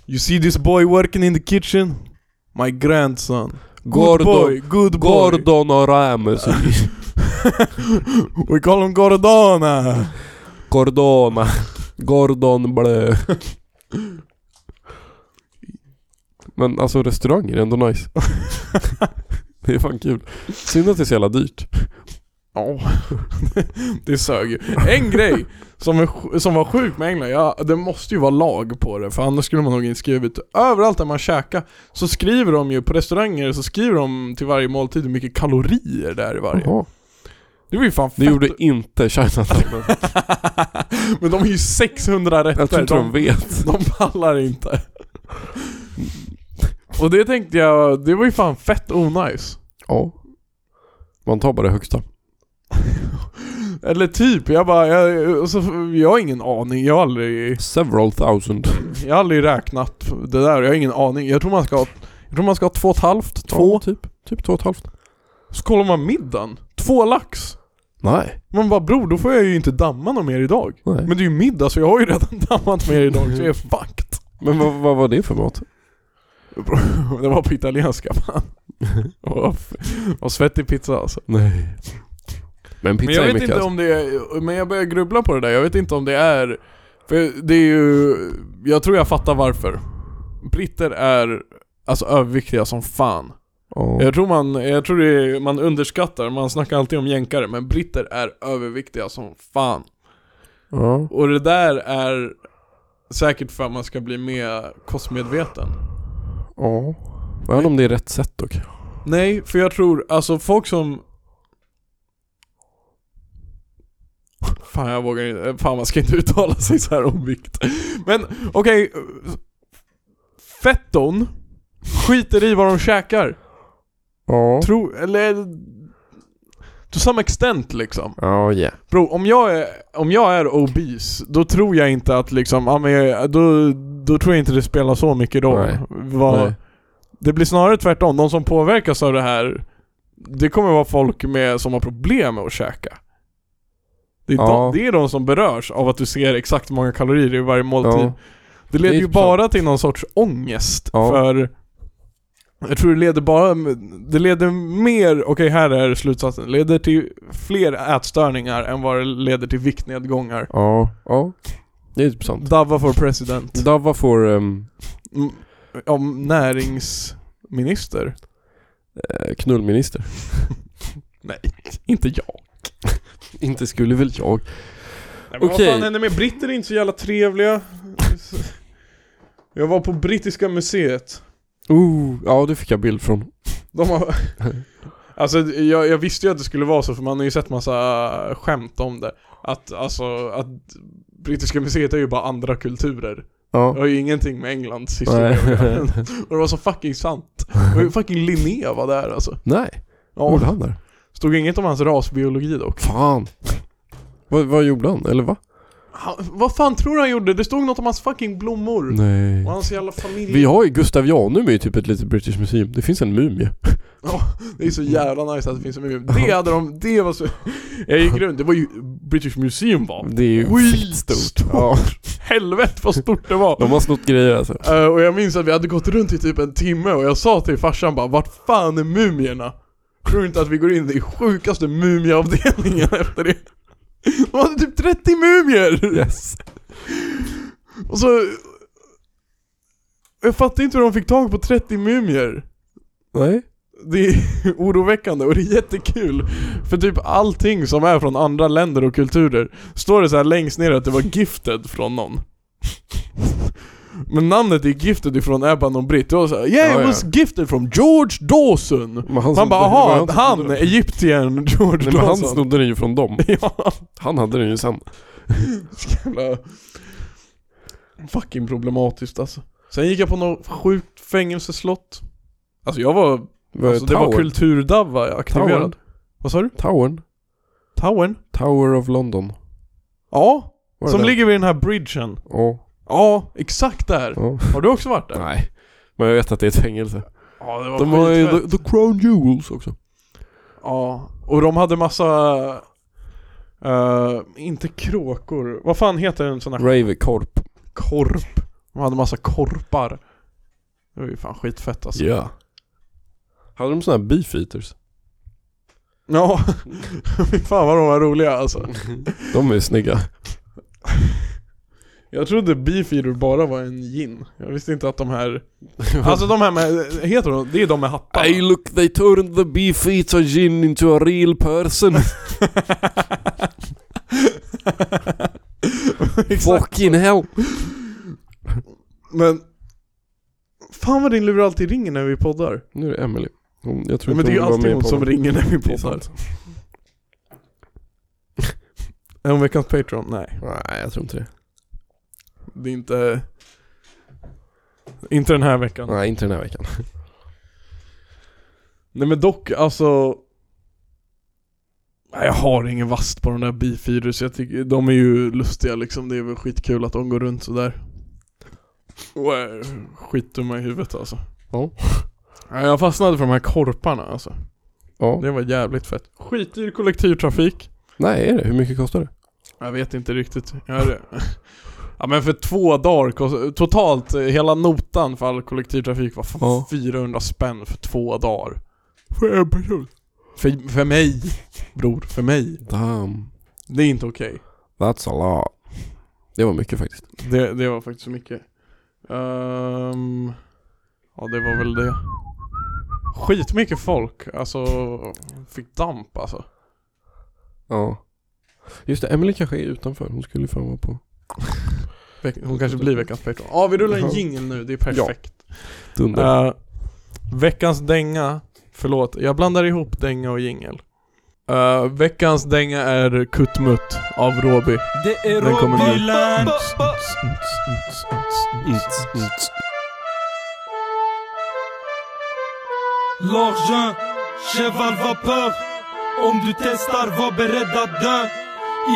B: You see this boy working in the kitchen? My grandson. Good
A: Gordo.
B: boy. Good boy.
A: Gordon och Rames.
B: We call him Gordona.
A: Gordona. Gordon Blö. Men alltså restauranger är ändå nice. Det är fan kul. Synd att det är så jävla dyrt.
B: Ja, det sög ju. En grej som, är, sj- som var sjuk med England, ja, det måste ju vara lag på det för annars skulle man nog inte skrivit Överallt där man käkar så skriver de ju, på restauranger så skriver de till varje måltid hur mycket kalorier det är i varje.
A: Jaha.
B: Det var ju fan
A: Det
B: fett.
A: gjorde inte Chinatown.
B: Men de är ju 600 rätter.
A: Jag tror inte de
B: de,
A: vet.
B: de pallar inte. Och det tänkte jag, det var ju fan fett onajs.
A: Ja. Man tar bara det högsta. Eller
B: Eller typ, jag bara, jag, och så, jag har ingen aning, jag har aldrig
A: several thousand.
B: Jag har aldrig räknat det där, jag har ingen aning. Jag tror man ska ha, jag tror man ska ha två och ett halvt, två.
A: Ja, typ. Typ två och ett halvt.
B: Så kollar man middagen, två lax.
A: Nej.
B: Man bara bror, då får jag ju inte damma någon mer idag.
A: Nej.
B: Men det är ju middag så jag har ju redan dammat mer idag så jag är fucked.
A: Men vad, vad var det för mat?
B: Bror, Det var på italienska man. Och, och svettig pizza alltså.
A: Nej. Men pizza
B: Men jag
A: är
B: vet
A: mycket
B: inte
A: alltså.
B: om det är, men jag börjar grubbla på det där, jag vet inte om det är För det är ju, jag tror jag fattar varför Britter är alltså överviktiga som fan
A: Ja.
B: Jag tror man, jag tror det är, man underskattar, man snackar alltid om jänkare, men britter är överviktiga som fan.
A: Ja.
B: Och det där är säkert för att man ska bli mer kostmedveten.
A: Ja. Även om det är rätt sätt dock.
B: Nej, för jag tror, alltså folk som... Fan jag vågar inte, fan man ska inte uttala sig så här om vikt. Men okej, fetton skiter i vad de käkar.
A: Ja.
B: Tro, eller... To some extent liksom.
A: Ja, yeah.
B: Bro, om jag är, om jag är obese, då tror jag inte att liksom, ja, men jag, då, då tror jag inte det spelar så mycket roll.
A: Nej.
B: Vad-
A: Nej.
B: Det blir snarare tvärtom, de som påverkas av det här, det kommer vara folk med, som har problem med att käka. Det är,
A: Ja.
B: de, det är de som berörs av att du ser exakt hur många kalorier i varje måltid.
A: Ja.
B: Det leder
A: Det är
B: ju
A: typ
B: bara till någon sorts ångest
A: Ja.
B: för jag tror det leder bara, det leder mer, okej här är slutsatsen, Det leder till fler ätstörningar än vad det leder till viktnedgångar.
A: Ja. Ja. Det är typ sant.
B: Dava for president.
A: Dava får... ehm,
B: Mm, Om näringsminister.
A: eh, knullminister.
B: Inte jag.
A: inte skulle väl jag.
B: Nej, men
A: Okej.
B: Vad fan händer med britter? är inte så jävla trevliga. Jag var på Brittiska museet.
A: Ooh. Oh, Ja, det fick jag bild från.
B: De har... Alltså jag, jag visste ju att det skulle vara så för man har ju sett massa äh, skämt om det. Att alltså, att Brittiska museet är ju bara andra kulturer. Det
A: Ja.
B: har ju ingenting med Englands historia
A: Nej.
B: att göra. Och det var så fucking sant. Och fucking Linné var där alltså.
A: Nej. Vad gjorde
B: Ja,
A: han där?
B: stod inget om hans rasbiologi dock.
A: Fan. Vad, vad gjorde han? Eller va?
B: Han, vad fan tror du han gjorde? Det stod något om hans fucking blommor.
A: Nej.
B: Och hans jävla familj.
A: Vi har ju Gustav Janum är ju typ ett litet British Museum. Det finns en mumie.
B: Det är så jävla nice att det finns så mycket. Det hade de, det var så... Jag gick runt, det var ju British Museum var.
A: Det är ju
B: Skitstort!
A: Ja.
B: Helvete vad stort det var!
A: De har snott grejer alltså.
B: Eh, och jag minns att vi hade gått runt i typ en timme och jag sa till farsan bara Vart fan är mumierna? Tror du inte att vi går in i sjukaste mumieavdelningen efter det? De hade typ 30 mumier!
A: Yes.
B: Och så... Jag fattar inte hur de fick tag på 30 mumier
A: Nej.
B: Det är oroväckande och det är jättekul För typ allting som är från andra länder och kulturer Står det så här längst ner att det var gifted från någon Men namnet är gifted ifrån är bara någon britt Det var så här, Yeah
A: Ja,
B: it
A: ja.
B: was gifted from George Dawson
A: Men han
B: Man
A: som-
B: bara
A: det
B: aha,
A: var som
B: han,
A: snodde den."
B: egyptiern George
A: Nej, men han
B: Dawson
A: snodde den ju från dem.
B: Ja,
A: Han hade den ju sen.
B: jävla Fucking problematiskt alltså Sen gick jag på något sjukt fängelseslott Alltså jag var, alltså, det var
A: Tower.
B: kulturdavva jag aktiverad
A: Towern.
B: Vad sa du?
A: Towern.
B: Towern?
A: Tower of London.
B: Ja,
A: Var det
B: som
A: den?
B: ligger vid den här bridgen.
A: Ja.
B: Ja, exakt där.
A: ja.
B: Har du också varit där?
A: Nej. Men jag vet att det är ett fängelse.
B: Ja, det var
A: De har ju
B: skitfett.
A: the, the Crown Jewels också.
B: Ja, och de hade massa... eh, inte kråkor. Vad fan heter en sån här
A: Ravekorp.
B: korp? De hade massa korpar. Det var ju fan skitfett alltså.
A: Ja. Hade de såna här beefeaters?
B: Ja, fy fan vad de var roliga alltså.
A: De är ju snygga.
B: Jag trodde Beefeater bara var en gin. Jag visste inte att de här... Alltså de här med... Heter de? Det är de med hattarna.
A: Hey look, they turned the beefeater gin into a real person.
B: Exakt.
A: Fucking hell.
B: Men... Fan vad din lur alltid ringer när vi poddar.
A: Nu är det Emily. Hon, jag tror
B: Men det
A: inte
B: är
A: hon
B: ju
A: var
B: alltid
A: med
B: hon
A: på
B: som
A: den.
B: ringer när
A: Det
B: vi
A: är
B: poddar.
A: sant.
B: Är hon veckans Patreon? Nej.
A: Nej, jag tror inte det.
B: Det är inte... Inte den här veckan.
A: Nej, inte den här veckan.
B: Nej men dock, alltså... Nej, jag har ingen vast på de där bifyror så jag tycker de är ju lustiga liksom. Det är väl skitkul att de går runt sådär. Och är skitdumma i huvudet alltså.
A: Ja.
B: Nej, jag fastnade för de här korparna alltså.
A: Ja.
B: Det var jävligt fett. Skitdyr kollektivtrafik.
A: Nej, är det? Hur mycket kostar det?
B: Jag vet inte riktigt. Jag är... ja men för två dagar kost... Totalt, eh, hela notan för all kollektivtrafik var fan
A: Ja.
B: 400 spänn för två dagar. För en person? För, för mig, bror. För mig.
A: Damn.
B: Det är inte okej.
A: That's a lot. Det var mycket faktiskt.
B: Det, det var faktiskt så mycket. Ehm, ja det var väl det. Skitmycket folk, alltså fick damp alltså.
A: Ja. Just det, Emily kanske är utanför. Hon skulle ju fan vara på
B: Veck- Hon kanske blir veckans Patreon. Ja vi rullar en jingel nu, det är perfekt.
A: Dunder.
B: Eh, veckans dänga, förlåt, jag blandar ihop dänga och jingel. Eh, veckans dänga är Kuttmutt av Råby.
D: Det är
B: Den kommer nu.
D: Robbyland! L'argent, cheval vapeur. Om du testar, var beredd att dö.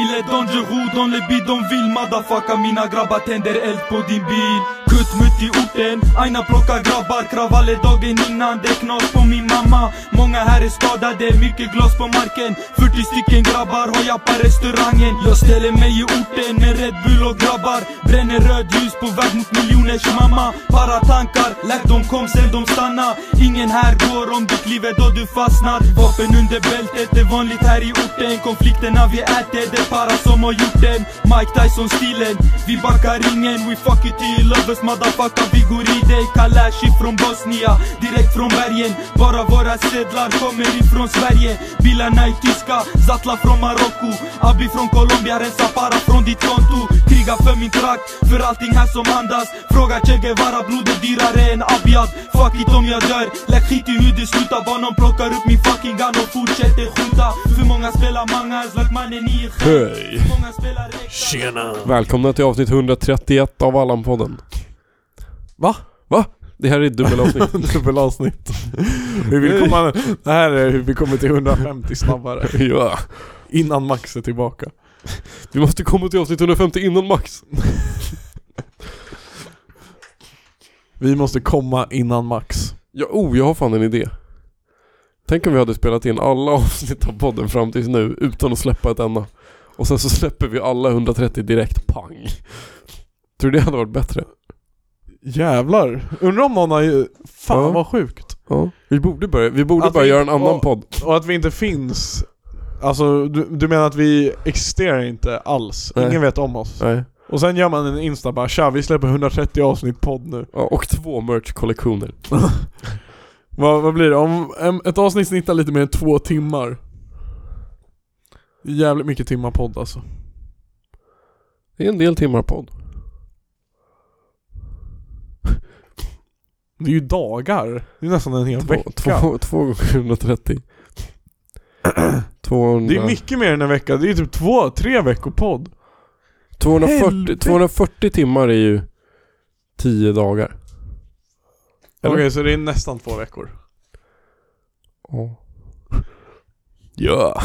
D: Il est dangereux dans les bidonvilles Madafaka mina grabbar tänder eld på din bil Kuttmutt i orten, aina plockar grabbar Kravaller dagen innan, det är knas på min mamma Många här är skadade, mycket glas på marken 40 stycken grabbar har på restaurangen Jag ställer mig i orten med Red Bull och grabbar Bränner rödljus på väg mot miljoners mamma Para tankar, läk de kom sen de stanna Ingen här går om du kliver då du fastnar Vapen under bältet är vanligt här i orten Konflikterna vi äter, det är para som har gjort den Mike Tyson-stilen, vi backar ringen We fuck it till lovers motherfucker Vi går i dig, Kalashi från Bosnien Direkt från bergen, bara våra sedlar kommer ifrån Sverige Bilarna är tyska, Zatla från Marocko Abi från Colombia, rensa para från ditt konto Kriga för min trakt, för allting här som andas Fråga Che Guevara, blod är dyrare än Abiad Fuck it om jag dör, lägg skit i hur det slutar Bara någon plockar upp min fucking gun och fortsätter skjuta För många spelar mangas, like mannen i ett
A: Hej!
D: Många spelar äkta
B: Tjena!
A: Välkomna till avsnitt 131 av Allan-podden.
B: Va?
A: Va? Det här är ett dubbelavsnitt.
B: Dubbelavsnitt. vi vill komma... Det här är hur vi kommer till 150 snabbare.
A: ja.
B: Innan Max är tillbaka.
A: Vi måste komma till avsnitt 150 innan max.
B: Vi måste komma innan Max.
A: Ja, oh, jag har fan en idé. Tänk om vi hade spelat in alla avsnitt av podden fram tills nu utan att släppa ett enda. Och sen så släpper vi alla 130 direkt, pang. Tror du det hade varit bättre?
B: Jävlar. Undrar om någon har ju... Fan
A: Ja.
B: vad sjukt.
A: Ja. Vi borde börja, vi borde
B: Att
A: börja
B: vi-
A: göra en annan
B: ja.
A: podd.
B: Och att vi inte finns. Alltså du, du menar att vi existerar inte alls?
A: Nej.
B: Ingen vet om oss.
A: Nej.
B: Och sen gör man en Insta bara tja vi släpper 130 avsnitt podd nu.
A: Ja, och två merch-kollektioner.
B: Vad, vad blir det? Om em, ett avsnitt snittar lite mer än två timmar. Jävligt mycket timmar podd alltså.
A: Det är en del timmar podd.
B: Det är ju dagar. Det är nästan en hel
A: Två,
B: vecka.
A: två, två gånger 130. 200,
B: Det är mycket mer än en vecka. Det är typ två, tre veckor podd.
A: 240,
B: Helvete.
A: 240 timmar är ju 10 dagar.
B: Okej
A: Eller?
B: så det är nästan två veckor.
A: Ja. Ja.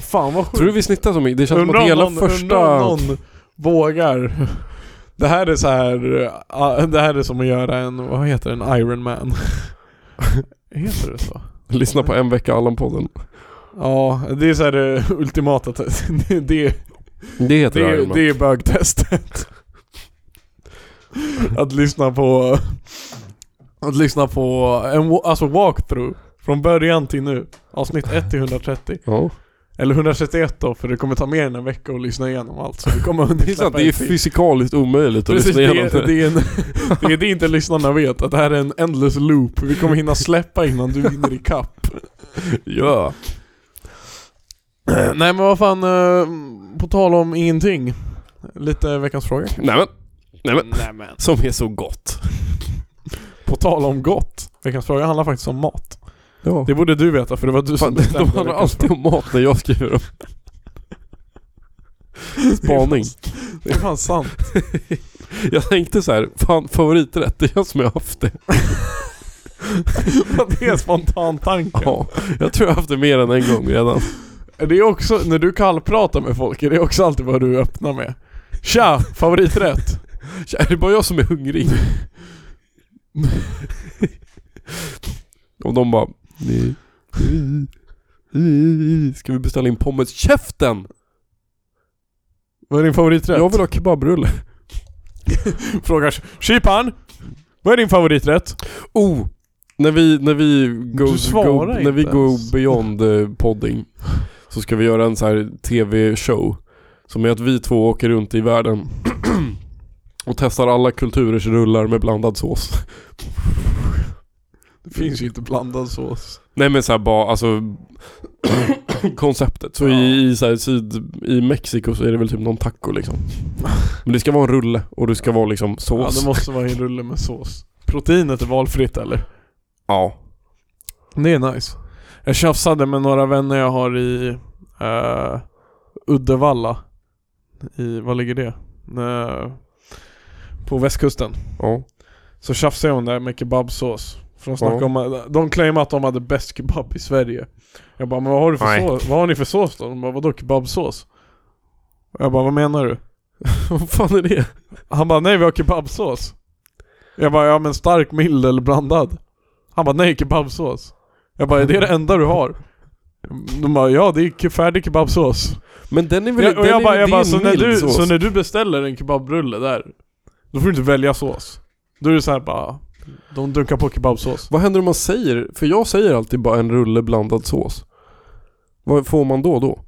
B: Fan vad sjukt.
A: Tror du vi snittar så mycket? Det känns som
B: Undrar
A: att
B: om
A: hela
B: någon,
A: första...
B: undrar om någon vågar Det här är så här, eh, det här är som att göra en, vad heter det, en Iron Man. heter det så?
A: Lyssna på en vecka Allan-podden.
B: Ja, det är så här det ultimata test. Det, det,
A: Det heter
B: det,
A: Iron Man.
B: det är bögtestet. Att lyssna på... Att lyssna på en wa- alltså walkthrough. Från början till nu. Avsnitt 1 till 130.
A: Ja.
B: Eller 131 då, för det kommer ta mer än en vecka att lyssna igenom allt. Så vi kommer
A: Det är sant, det är
B: fysiskt
A: fysikaliskt omöjligt att
B: Precis,
A: lyssna
B: det
A: igenom
B: är,
A: det.
B: det, är en, det är det inte lyssnarna vet, att det här är en endless loop. Vi kommer hinna släppa innan du hinner ikapp.
A: Ja.
B: Nej men vad fan, eh, på tal om ingenting. Lite veckans fråga.
A: Nämen. Nämen.
B: Nämen.
A: Som är så gott.
B: På tal om gott. Veckans fråga handlar faktiskt om mat.
A: Ja.
B: Det borde du veta för det var
A: Fan,
B: du
A: de
B: som bestämde
A: handlar
B: veckans
A: alltid om mat när jag skriver dem. Spaning.
B: fråga. Det är fan sant.
A: Jag tänkte så här, fan favoriträtt, det är jag som har haft det.
B: det är spontantanken.
A: Ja, jag tror jag har haft det mer än en gång redan.
B: Det är också, när du kallpratar med folk, är det också alltid vad du öppnar med. Tja, favoriträtt.
A: Tja, Är det bara jag som är hungrig? Och de bara... "Nej. Ska vi beställa in pommes? Käften!
B: Vad är din favoriträtt?
A: Jag vill ha kebabrulle.
B: Frågar Chipan, vad är din favoriträtt?
A: Oh! När vi, när vi go,
B: Du svarar
A: go,
B: inte
A: när vi go
B: ens.
A: beyond eh, podding så ska vi göra en så här tv-show som är att vi två åker runt i världen och testar alla kulturers rullar med blandad sås.
B: Det finns ju inte blandad sås.
A: Nej men såhär bara, alltså konceptet. Så i, i, så här, syd, i Mexiko så är det väl typ någon taco liksom. Men det ska vara en rulle och det ska vara liksom
B: Ja,
A: sås.
B: det
A: Ja.
B: måste vara i en rulle med sås. Proteinet är valfritt eller? Det är nice. Jag tjafsade med några vänner jag har i eh, Uddevalla. I, vad ligger det? Eh, på västkusten.
A: ja.
B: Så tjafsade jag om det här med kebabsås. För de, snackade om, de claimade att de hade bäst kebab i Sverige. Jag bara, men vad har, du för
A: Nej.
B: sås? vad har ni för sås då? De bara, vadå kebabsås? Jag bara, vad menar du?
A: Vad fan är det?
B: Han bara, nej vi har kebabsås. Jag bara, ja men stark, mild eller blandad? Han bara, nej kebabsås. Jag bara, är det det enda du har? De bara, ja det är ke- färdig kebabsås.
A: Men den är väl,
B: Jag, och
A: den
B: jag
A: är,
B: bara,
A: det
B: jag
A: är
B: bara
A: en
B: så, när
A: mild
B: du,
A: sås.
B: så när du beställer en kebabrulle där, då får du inte välja sås. Då är det så här bara, de dunkar på kebabsås.
A: Vad händer om man säger, för jag säger alltid bara en rulle blandad sås. Vad får man då då?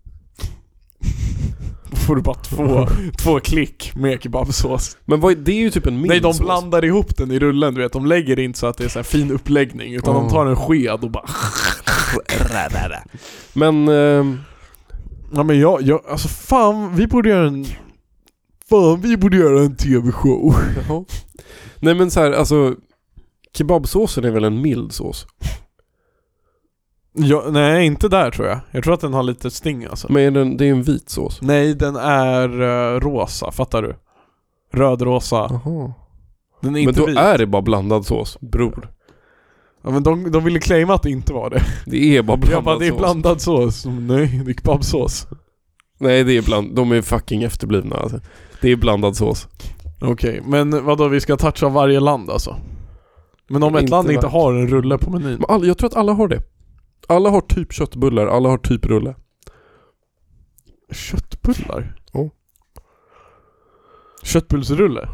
B: Då får du bara två, två klick med kebabsås.
A: Men vad, är- det är ju typ en mild
B: Nej de
A: sås.
B: blandar ihop den i rullen du vet, de lägger det inte så att det är så här fin uppläggning utan de
A: Ah.
B: tar en sked och bara
A: Men, ehm,
B: Ja men jag, jag, alltså fan vi borde göra en... Fan vi borde göra en TV-show.
A: ja. Nej men så här, alltså kebabsåsen är väl en mild sås?
B: Ja, nej inte där tror jag. Jag tror att den har lite sting alltså.
A: Men är den, det är en vit sås.
B: Nej den är eh, rosa, fattar du? Rödrosa.
A: Jaha.
B: Den är
A: Men
B: inte
A: då
B: vit.
A: är det bara blandad sås, bror.
B: Ja, men de, de ville claima att det inte var det.
A: Det är bara blandad
B: jag bara det är
A: sås.
B: blandad sås. Mm, Nej, det är kebabsås.
A: Nej det är bland, de är fucking efterblivna alltså. Det är blandad sås.
B: Okej, men vadå vi ska toucha varje land alltså? Men om ett
A: Inte
B: land inte
A: varje.
B: har en rulle på menyn.
A: Men alla, jag tror att alla har det. Alla har typ köttbullar, alla har typ rulle.
B: Köttbullar?
A: Ja.
B: Köttbullsrulle?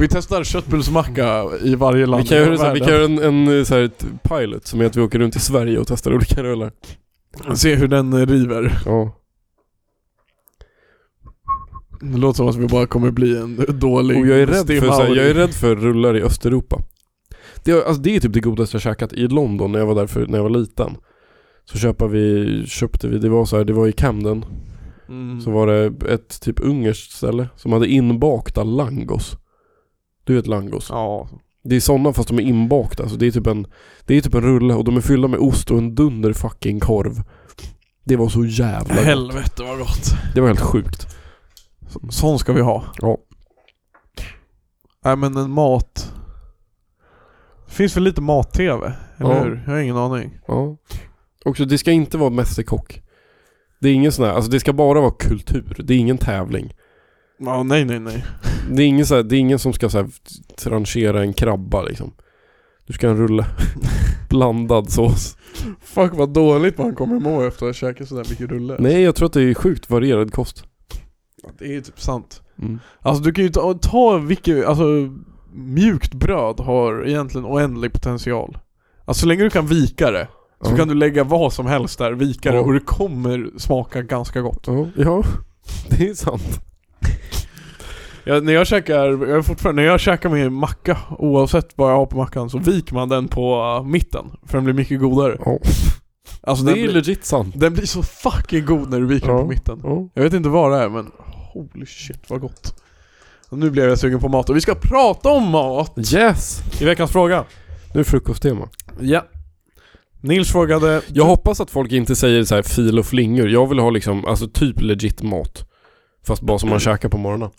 B: Vi testar köttbullsmacka i varje land
A: Vi kan,
B: i
A: göra, så här, vi
B: världen.
A: kan göra en, en eh, så här, ett pilot som är att vi åker runt i Sverige och testar olika rullar.
B: Se hur den eh, river.
A: Ja.
B: Det låter som att vi bara kommer bli en dålig
A: Och Oh, jag är, rädd för,
B: Stim
A: så här, jag är
B: Auri.
A: rädd för rullar i Östeuropa. Det, är- alltså, det är typ det godaste jag käkat i London när jag var där för, när jag var liten. Så köpa vi, köpte vi, det var så här, det var i Camden.
B: Mm.
A: Så var det ett typ ungerskt ställe som hade inbakta langos. Du vet langos?
B: Ja.
A: Det är sådana fast de är inbakta. Alltså det, är typ en, det är typ en rulle och de är fyllda med ost och en dunder fucking korv. Det var så jävla gott.
B: Helvete vad gott.
A: Det var helt sjukt.
B: Sån ska vi ha.
A: Ja.
B: Nej men en mat. Det finns väl lite mat-tv? Eller
A: Ja.
B: hur? Jag har ingen aning.
A: Ja. Också, det ska inte vara mästerkock. Det är ingen sån här, alltså det ska bara vara kultur. Det är ingen tävling.
B: Ja, nej nej nej.
A: Det är ingen, så här, det är ingen som ska så här, tranchera en krabba liksom. Du ska ha en rulle. Blandad sås.
B: Fuck vad dåligt man kommer må efter att ha käkat sådär mycket rulle.
A: Nej, jag tror att det är sjukt varierad kost.
B: Det är ju typ sant.
A: Mm.
B: Alltså du kan ju ta, ta vilket, alltså mjukt bröd har egentligen oändlig potential. Alltså så länge du kan vika det, så
A: Ja.
B: kan du lägga vad som helst där, vika det
A: Ja.
B: och det kommer smaka ganska gott.
A: Ja, ja. det är sant.
B: Jag, när jag käkar, jag är fortfarande, när jag käkar med macka, oavsett vad jag har på mackan, så viker man den på eh, mitten. För den blir mycket godare.
A: Ja.
B: Alltså
A: Det
B: den,
A: är
B: blir,
A: legit sant.
B: den blir så fucking god när du viker
A: Ja.
B: den på mitten.
A: Ja.
B: Jag vet inte vad det är men holy shit vad gott. Och nu blev jag sugen på mat och vi ska prata om mat!
A: Yes!
B: I veckans fråga.
A: Nu är frukosttema.
B: Ja. Nils frågade...
A: Jag hoppas att folk inte säger så här fil och flingor. Jag vill ha liksom, alltså typ legit mat. Fast bara som man käkar på morgonen.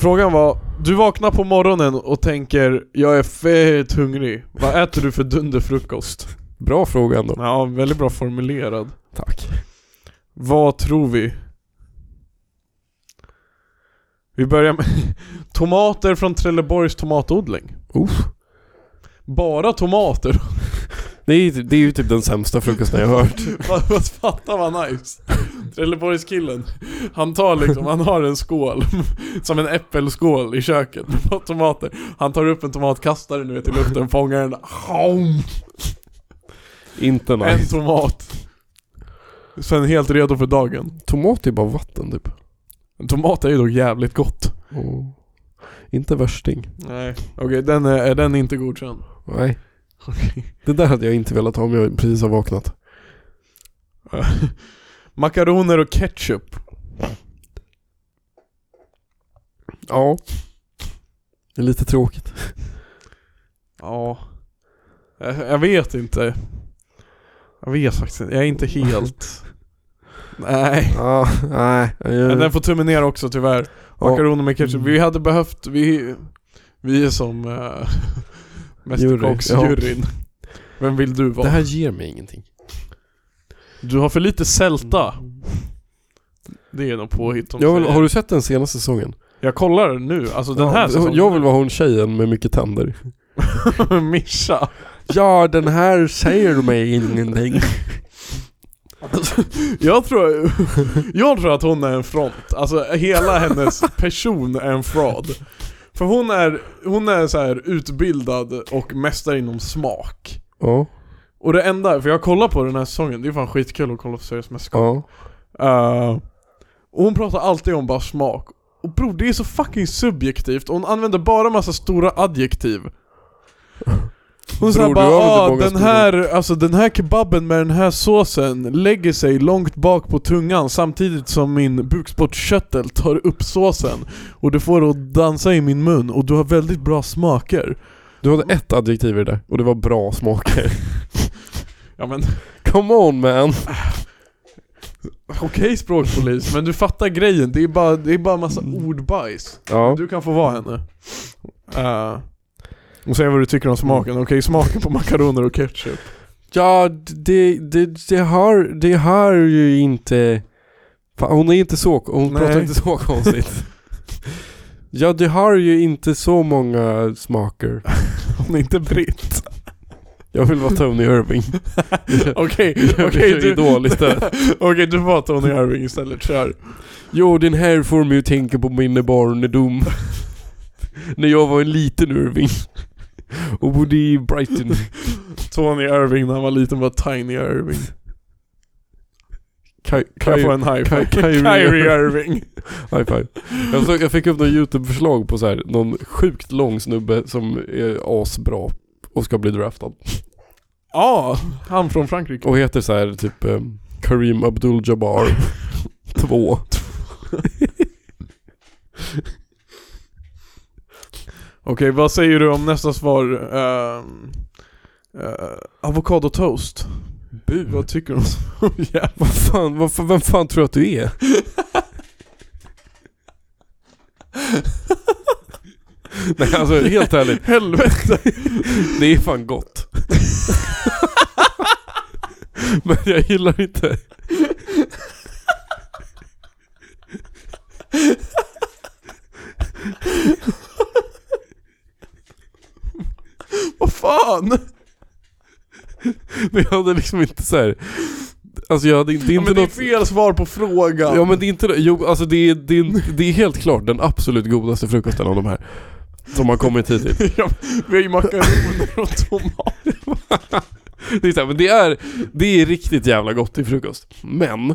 B: Frågan var, du vaknar på morgonen och tänker 'Jag är fett hungrig' Vad äter du för dunderfrukost?
A: Bra fråga ändå.
B: Ja, väldigt bra formulerad.
A: Tack.
B: Vad tror vi? Vi börjar med tomater från Trelleborgs tomatodling.
A: Uff.
B: Bara tomater.
A: Det är, ju- det är ju typ den sämsta frukosten jag har hört.
B: Vad- vad- Fatta vad nice. Trelleborgskillen. Han tar liksom, han har en skål. Som en äppelskål i köket med bara tomater. Han tar upp en tomat, kastar den ut i luften, fångar den. Haum!
A: Inte
B: En
A: nice.
B: tomat. Sen helt redo för dagen.
A: Tomat är bara vatten typ.
B: En tomat är ju dock jävligt gott.
A: Åh. Inte värsting.
B: Nej. Okej, den är, är den inte godkänd.
A: Nej.
B: Okej.
A: Det där hade jag inte velat ha om jag precis har vaknat.
B: Makaroner och ketchup.
A: Ja. Det är lite tråkigt.
B: Ja. Jag, jag vet inte. Jag vet faktiskt inte. Jag är inte helt... Nej.
A: Ah, nej.
B: Men den får tummen ner också tyvärr. Makaroner med ketchup.
A: Mm.
B: Vi hade behövt, vi, vi är som uh, Mästerkocksjuryn. Vem vill du
A: det
B: vara?
A: här ger mig ingenting.
B: Du har för lite sälta.
A: Mm.
B: Det är nog påhitt de
A: Jag vill,
B: säger.
A: har du sett den senaste säsongen?
B: Jag kollar nu, alltså den här
A: ja,
B: säsongen.
A: Jag vill vara hon tjejen med mycket tänder.
B: Mischa.
A: Ja, den här säger mig ingenting.
B: Jag tror, jag tror att hon är en front, alltså hela hennes person är en fraud. För hon är, hon är så här utbildad och mästare inom smak.
A: Ja,
B: Och det enda, för jag kollar på den här säsongen, det är fan skitkul att kolla på Sveriges Mästerskap.
A: ja.
B: Eh, och hon pratar alltid om bara smak. Och bror, det är så fucking subjektivt, och hon använder bara massa stora adjektiv. Hon säger
A: Bror,
B: bara
A: du har väl inte
B: ah,
A: många
B: den
A: stora
B: här, alltså den här kebaben med den här såsen lägger sig långt bak på tungan samtidigt som min bukspottkörtel tar upp såsen och det får det att dansa i min mun och du har väldigt bra smaker.
A: Du hade ett adjektiv i det där och det var bra smaker.
B: Ja men
A: Come on man!
B: okej språkpolis, men du fattar grejen, det är bara, det är bara massa ordbajs.
A: Ja.
B: Du kan få vara henne. Eh, och säga vad du tycker om smaken. Okej, smaken på makaroner och ketchup.
A: Ja, det, det, det, har, det har ju inte... Fan, hon är inte så... Hon
B: Nej.
A: pratar inte så konstigt. ja, det har ju inte så många smaker.
B: Hon är inte britt.
A: Jag vill vara Tony Irving.
B: Okej,
A: Jag
B: okej
A: är
B: du...
A: idol istället.
B: Okej, du får Tony Irving istället. Kör.
A: Jo, den här får mig att tänka på min barndom. När jag var en liten Irving. Och bodde i Brighton.
B: Tony Irving när han var liten var Tiny Irving.
A: Kai,
B: Kan jag få
A: Kai,
B: en high
A: Ky-
B: five?
A: Kyrie
B: Kyrie Irving.
A: high five. Jag, såg, jag fick upp något YouTube-förslag på så här, någon sjukt lång snubbe som är asbra och ska bli draftad.
B: Ja, han från Frankrike.
A: Och heter så här typ eh, Kareem Abdul-Jabbar 2.
B: Okej, vad säger du om nästa svar? ehm, eh, Avokadotoast. Bu. Vad tycker du om Ja.
A: Vad fan, vad, fan- vem fan tror du att du är? Nej alltså helt ärligt,
B: Helvete.
A: det är fan gott. Men jag gillar inte.
B: fan!
A: Men jag hade liksom inte så här. Alltså jag hade inte, det är
B: Ja,
A: inte
B: men det är
A: något...
B: fel svar på frågan.
A: Ja men det är inte, jo alltså det är, det är, det är helt klart den absolut godaste frukosten av de här. Som har kommit hit till.
B: Ja, vi har ju makaroner och tomat.
A: Det är, så här, men det är, det är riktigt jävla gott till frukost. Men,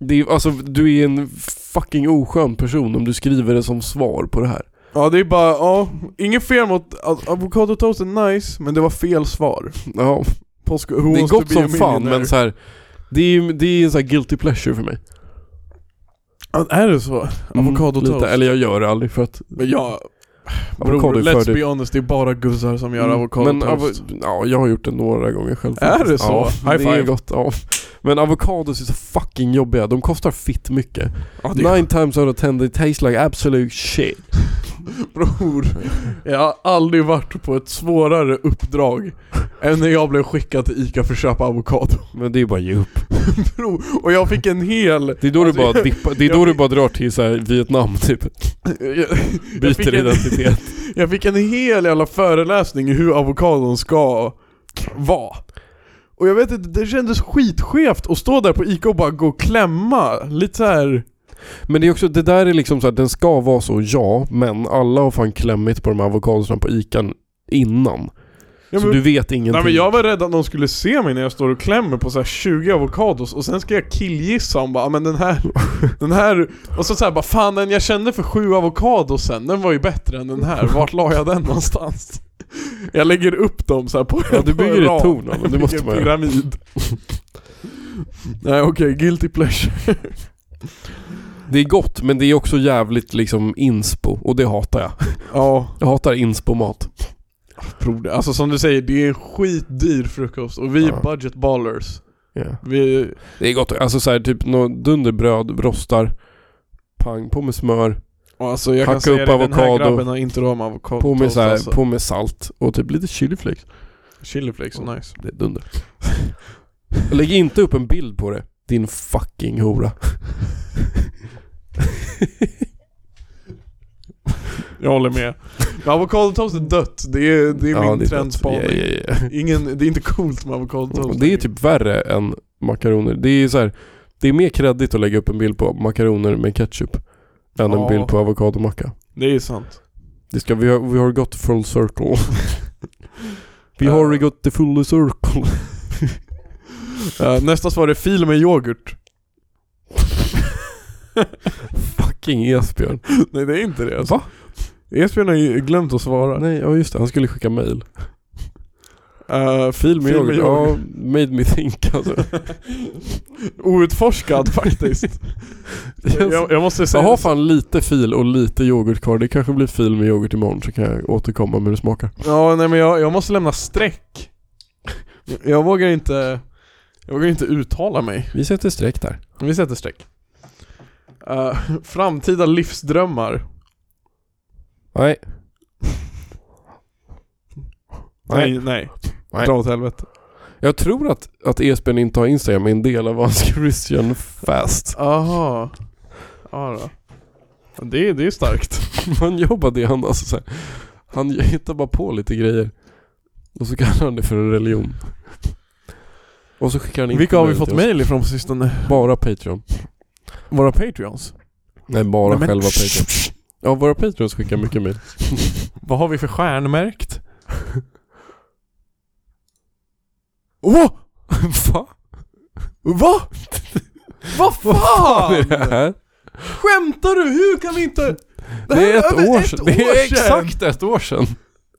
A: det är, alltså du är en fucking oskön person om du skriver det som svar på det här.
B: Ja det är bara, ja, inget fel mot, av- avokadotoast är nice, men det var fel svar.
A: Ja,
B: Påsk, who
A: det är
B: wants to
A: gott
B: be a
A: som fan
B: millionaire?
A: men så här. Det är, ju- det är en sån här guilty pleasure för mig.
B: Ja, Är det så? Avokadotoast?
A: Mm, Lite, eller jag gör det aldrig för att...
B: Mm. Men jag, bror,
A: Avokado är
B: let's
A: för
B: be honest, det är bara guzzar som gör
A: Mm, Men
B: avokadotoast.
A: avo- ja, jag har gjort det några gånger själv.
B: Är
A: faktiskt.
B: det så?
A: Ja,
B: High
A: det är
B: five.
A: gott. Ja. Men avokados är så fucking jobbiga. De kostar fitt mycket.
B: Ja, det är-
A: Nine times out of ten they taste like absolute shit.
B: Bror, jag har aldrig varit på ett svårare uppdrag än när jag blev skickad till ICA för att köpa avokado.
A: Men det är bara ge upp.
B: Bror, och jag fick en hel...
A: Det är då
B: Alltså,
A: du bara dippar, det är då
B: jag-
A: du bara drar till så här Vietnam typ.
B: Jag, jag, fick
A: Byter
B: en,
A: identitet.
B: jag fick en hel jävla föreläsning i hur avokadon ska vara. Och jag vet inte, det kändes skitskevt att stå där på ICA och bara gå och klämma. Lite så här.
A: Men det är också, det där är liksom så här, den ska vara så ja, men alla har fan klämmit på de här avokadosarna på ICA innan.
B: Ja,
A: så
B: men-
A: du vet ingenting.
B: Nej men jag var rädd att någon skulle se mig när jag står och klämmer på så här 20 avokados och sen ska jag killgissa om bara "Ah, men den här, den här och så, så här bara fan den jag kände för sju avokados sen, den var ju bättre än den här, vart la jag den någonstans? Jag lägger upp dem så här på
A: Ja, du
B: på en
A: bygger ett
B: rad.
A: torn av dem, det
B: Jag bygger
A: måste
B: en
A: man göra.
B: pyramid. Nej okej, guilty pleasure.
A: Det är gott, men det är också jävligt liksom inspo. Och det hatar jag.
B: Ja,
A: Jag hatar inspo-mat.
B: tror det. Alltså som du säger, det är en skitdyr frukost och vi är
A: Ja.
B: budget ballers. Vi,
A: Det är gott. Alltså så här, typ nå- dunderbröd, rostar, pang, på med smör,
B: och alltså jag kan
A: Hacka
B: säga
A: upp
B: det, den här
A: avokado.
B: grabben har inte råd med avokado.
A: på med, så här,
B: alltså.
A: på med salt och typ lite chiliflakes.
B: Chiliflakes är nice.
A: Det är dunder. Lägg inte upp en bild på det. Din fucking hora.
B: Jag håller med. Men avokadotoast är dött. Det är, det är min
A: det är
B: trendspaning.
A: gott. Ja, ja, ja.
B: Ingen, det är inte coolt med avokadotoast.
A: Det är typ värre än makaroner. Det är så här, det är mer kreddigt att lägga upp en bild på makaroner med ketchup än en
B: Ja.
A: bild på avokadomacka.
B: Det är sant.
A: Det ska, vi, har, vi har gått full circle. vi har
B: Eh.
A: gått the full circle.
B: Eh, nästa svar är fil med yoghurt.
A: Fucking Esbjörn.
B: Nej det är inte det alltså. Va? Esbjörn har ju glömt att svara.
A: Nej, ja just det. Han skulle skicka mail.
B: Eh,
A: Fil med yoghurt. Ja,
B: yoghurt.
A: made me think alltså.
B: Outforskad faktiskt. jag, jag måste
A: Jag
B: säga
A: har fan lite fil och lite yoghurt kvar. Det kanske blir fil med yoghurt imorgon så kan jag återkomma med hur det smakar.
B: Ja nej men jag, jag måste lämna streck. Jag, jag vågar inte... Jag vågar inte uttala mig.
A: Vi sätter streck där.
B: Vi sätter streck. Eh, framtida livsdrömmar.
A: Nej.
B: Nej, nej.
A: Nej.
B: Dra åt helvete.
A: Jag tror att, att Esbjörn inte har Instagram är en del av hans Christian Fast.
B: Aha. Ja då. Det, det är starkt.
A: Man jobbar det han alltså så här. Han hittar bara på lite grejer. Och så kallar han det för en religion. Och så skickar han in
B: Vilka har vi
A: till
B: fått
A: oss.
B: mail ifrån på sistone?
A: Bara Patreon.
B: Våra patreons?
A: Nej, bara
B: Nej, men-
A: själva Patreon. Ja, våra Patreons skickar mycket mail.
B: Vad har vi för stjärnmärkt? Åh!
A: Va?
B: Va? Vad
A: Vad är det
B: fan?
A: här?
B: Skämtar du? Hur kan vi inte...
A: Det,
B: här
A: är ett
B: över
A: år sedan. Det
B: år
A: är
B: sedan.
A: exakt ett år sedan.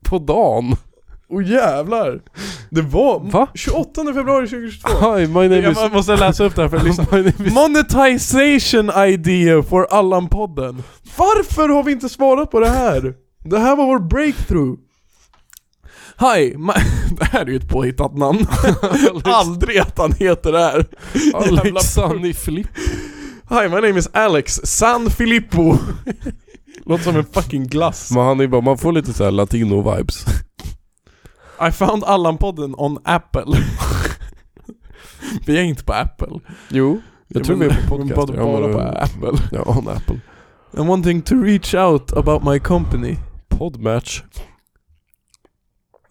A: På dagen.
B: Åh jävlar! Det var
A: Va?
B: 28 februari 2022.
A: Hi, my name is...
B: Jag måste läsa upp det här för lyssna.
A: My name is...
B: Monetization idea for Allan-podden. Varför har vi inte svarat på det här? Det här var vår breakthrough. Hi, my... det här är ju ett påhittat namn. Aldrig att han heter det här. jävla
A: Alexander Flipp.
B: Hi, my name is Alex San Filippo. Låter som en fucking glass.
A: Men han är bara, man får lite såhär latino-vibes.
B: I found Allan-podden on Apple. vi är inte på Apple.
A: Jo. Jag tror vi är på podcast.
B: Bara, bara på Apple.
A: Ja, on Apple.
B: I'm wanting to reach out about my company.
A: Podmatch.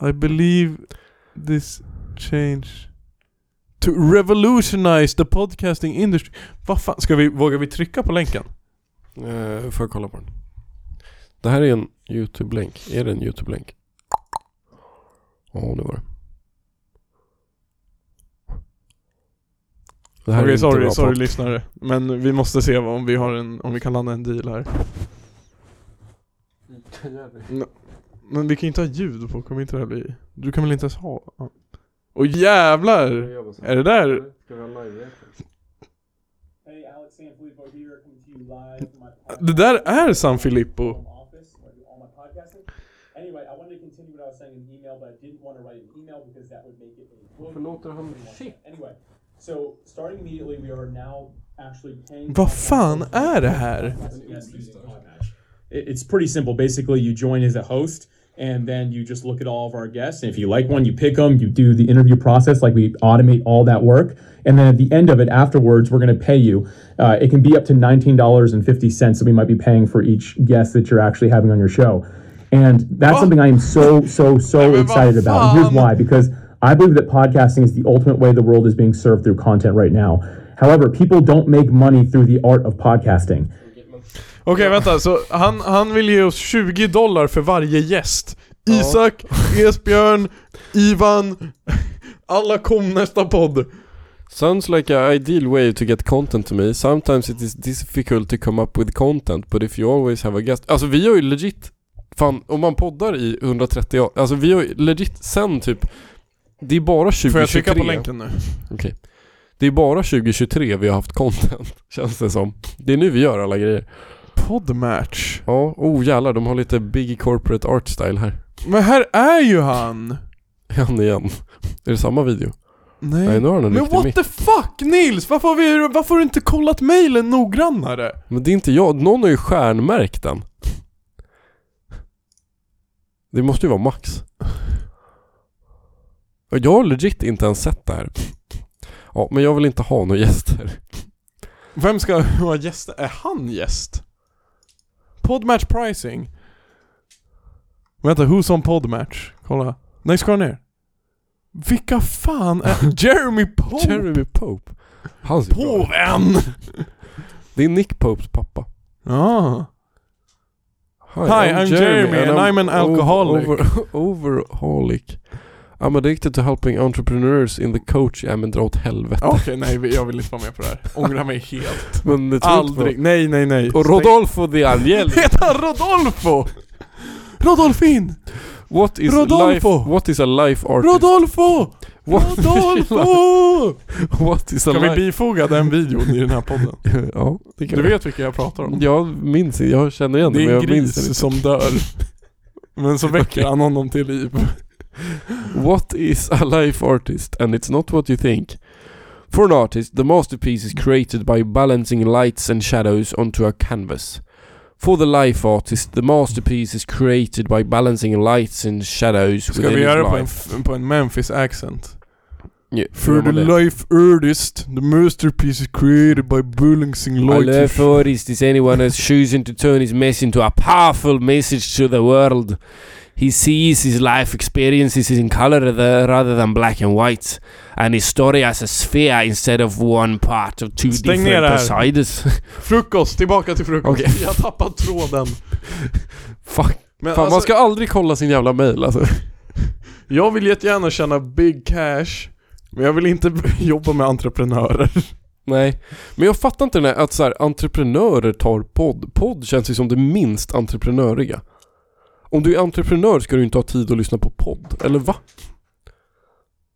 B: I believe this change to revolutionize the podcasting industry. Vad fan, ska vi, vågar vi trycka på länken?
A: Eh, får jag kolla på den? Det här är en YouTube-länk. Är det en YouTube-länk? Ja, det var det. Det här
B: Okej,
A: är inte
B: sorry,
A: bra
B: sorry
A: podd.
B: lyssnare. Men vi måste se vad- om vi, har en, om vi kan landa en deal här. Men vi kan ju inte ha ljud på, kommer inte det här bli... Du kan väl inte ens ha... ja. Åh jävlar! Är det där...
E: Hey, Alex Sanfilippo here, coming to you live from my
B: Det där är San Filippo.
E: home office where I do all my podcasting. Anyway, I wanted to continue what I was saying in email, but I didn't want to write an email because that would make it a book. Anyway, so starting immediately, we are now actually paying.
B: Vad fan är det här?
E: Yes, using Podmatch. It- It's pretty simple. Basically, you join as a host, and then you just look at all of our guests. And if you like one, you pick them. You do the interview process, like we automate all that work. And then at the end of it, afterwards, we're going to pay you. Uh, it can be up to nineteen dollars and fifty cents that we might be paying for each guest that you're actually having on your show. And that's something I am so, so, so excited about. And here's
B: fun.
E: why why because I believe that podcasting is the ultimate way the world is being served through content right now. However, people don't make money through the art of podcasting.
B: Okej vänta, så han, han vill ge oss 20 dollar för varje gäst. Isak, Esbjörn, Ivan, alla kom nästa podd.
A: Sounds like an ideal way to get content to me. Sometimes it is difficult to come up with content, but if you always have a guest. Alltså vi har ju legit, fan om man poddar i 130 år, alltså vi har ju legit sen typ, det är bara 2023.
B: Får jag trycka på länken nu?
A: Det är bara 2023 vi har haft content, känns det som. Det är nu vi gör alla grejer.
B: Podmatch.
A: Ja, oh jävlar, de har lite big corporate art style här.
B: Men här är ju han!
A: Han igen. Är det samma video?
B: Nej.
A: Nej, nu har han en
B: Men
A: riktig
B: what
A: mick.
B: the fuck Nils! Varför har, vi, varför har du inte kollat mailen noggrannare?
A: Men det är inte jag, någon har ju stjärnmärkt den. Det måste ju vara Max. Och Jag har legit inte ens sett det här. Ja, men jag vill inte ha några gäster.
B: Vem ska vara gäst? Är han gäst? Podmatch pricing. Vänta, who's on podmatch? Kolla. Nej, skrolla ner. Vilka fan är... Jeremy Pope!
A: Jeremy Pope. Han ser bra ut.
B: Påven!
A: Det är Nick Popes pappa.
B: Ja.
A: Hi,
B: I'm Jeremy and I'm an alcoholic.
A: Over, overholic. I'm addicted to helping entrepreneurs in the coach. Ja men dra åt helvete.
B: Okej, nej vi- jag vill inte vara med på det här. Ångrar mig helt.
A: Men det tror jag inte på.
B: Aldrig. Nej, nej, nej.
A: Och Rodolfo de Angel.
B: Heter han Rodolfo? Rodolfin!
A: What is
B: Rodolfo.
A: life? What is a life artist?
B: Rodolfo!
A: What-
B: Rodolfo!
A: What is a
B: Kan vi
A: life?
B: bifoga den videon i den här podden?
A: ja, det kan
B: Du
A: vi.
B: vet vilka jag pratar om?
A: Jag minns inte, jag känner igen det,
B: Det
A: men
B: är en
A: jag minns det
B: gris
A: inte.
B: som dör. Men så väcker han honom till liv.
A: What is a life artist? And it's not what you think. For an artist, the masterpiece is created by balancing lights and shadows onto a canvas. For the life artist, the masterpiece is created by balancing lights and shadows
B: Ska
A: within
B: vi göra det
A: his
B: på en,
A: life.
B: f- på en Memphis accent?
A: Ja,
B: For the life artist, the masterpiece is created by balancing
A: A life
B: lights.
A: artist is anyone who's chosen to turn his mess into a powerful message to the world. He sees his life experiences in color th- rather than black and white, and his story as a sphere instead of one part of two
B: Stäng ner det
A: different
B: här.
A: sides.
B: Frukost, tillbaka till frukost.
A: Okej.
B: Jag har tappat tråden.
A: Fuck.
B: Men
A: Fan, man
B: alltså,
A: ska aldrig kolla sin jävla mail alltså.
B: jag vill jättegärna tjäna big cash, men jag vill inte jobba med entreprenörer.
A: Nej, men jag fattar inte den här att så här, entreprenörer tar podd. Podd känns ju som det minst entreprenöriga. Om du är entreprenör ska du inte ha tid att lyssna på podd, eller va?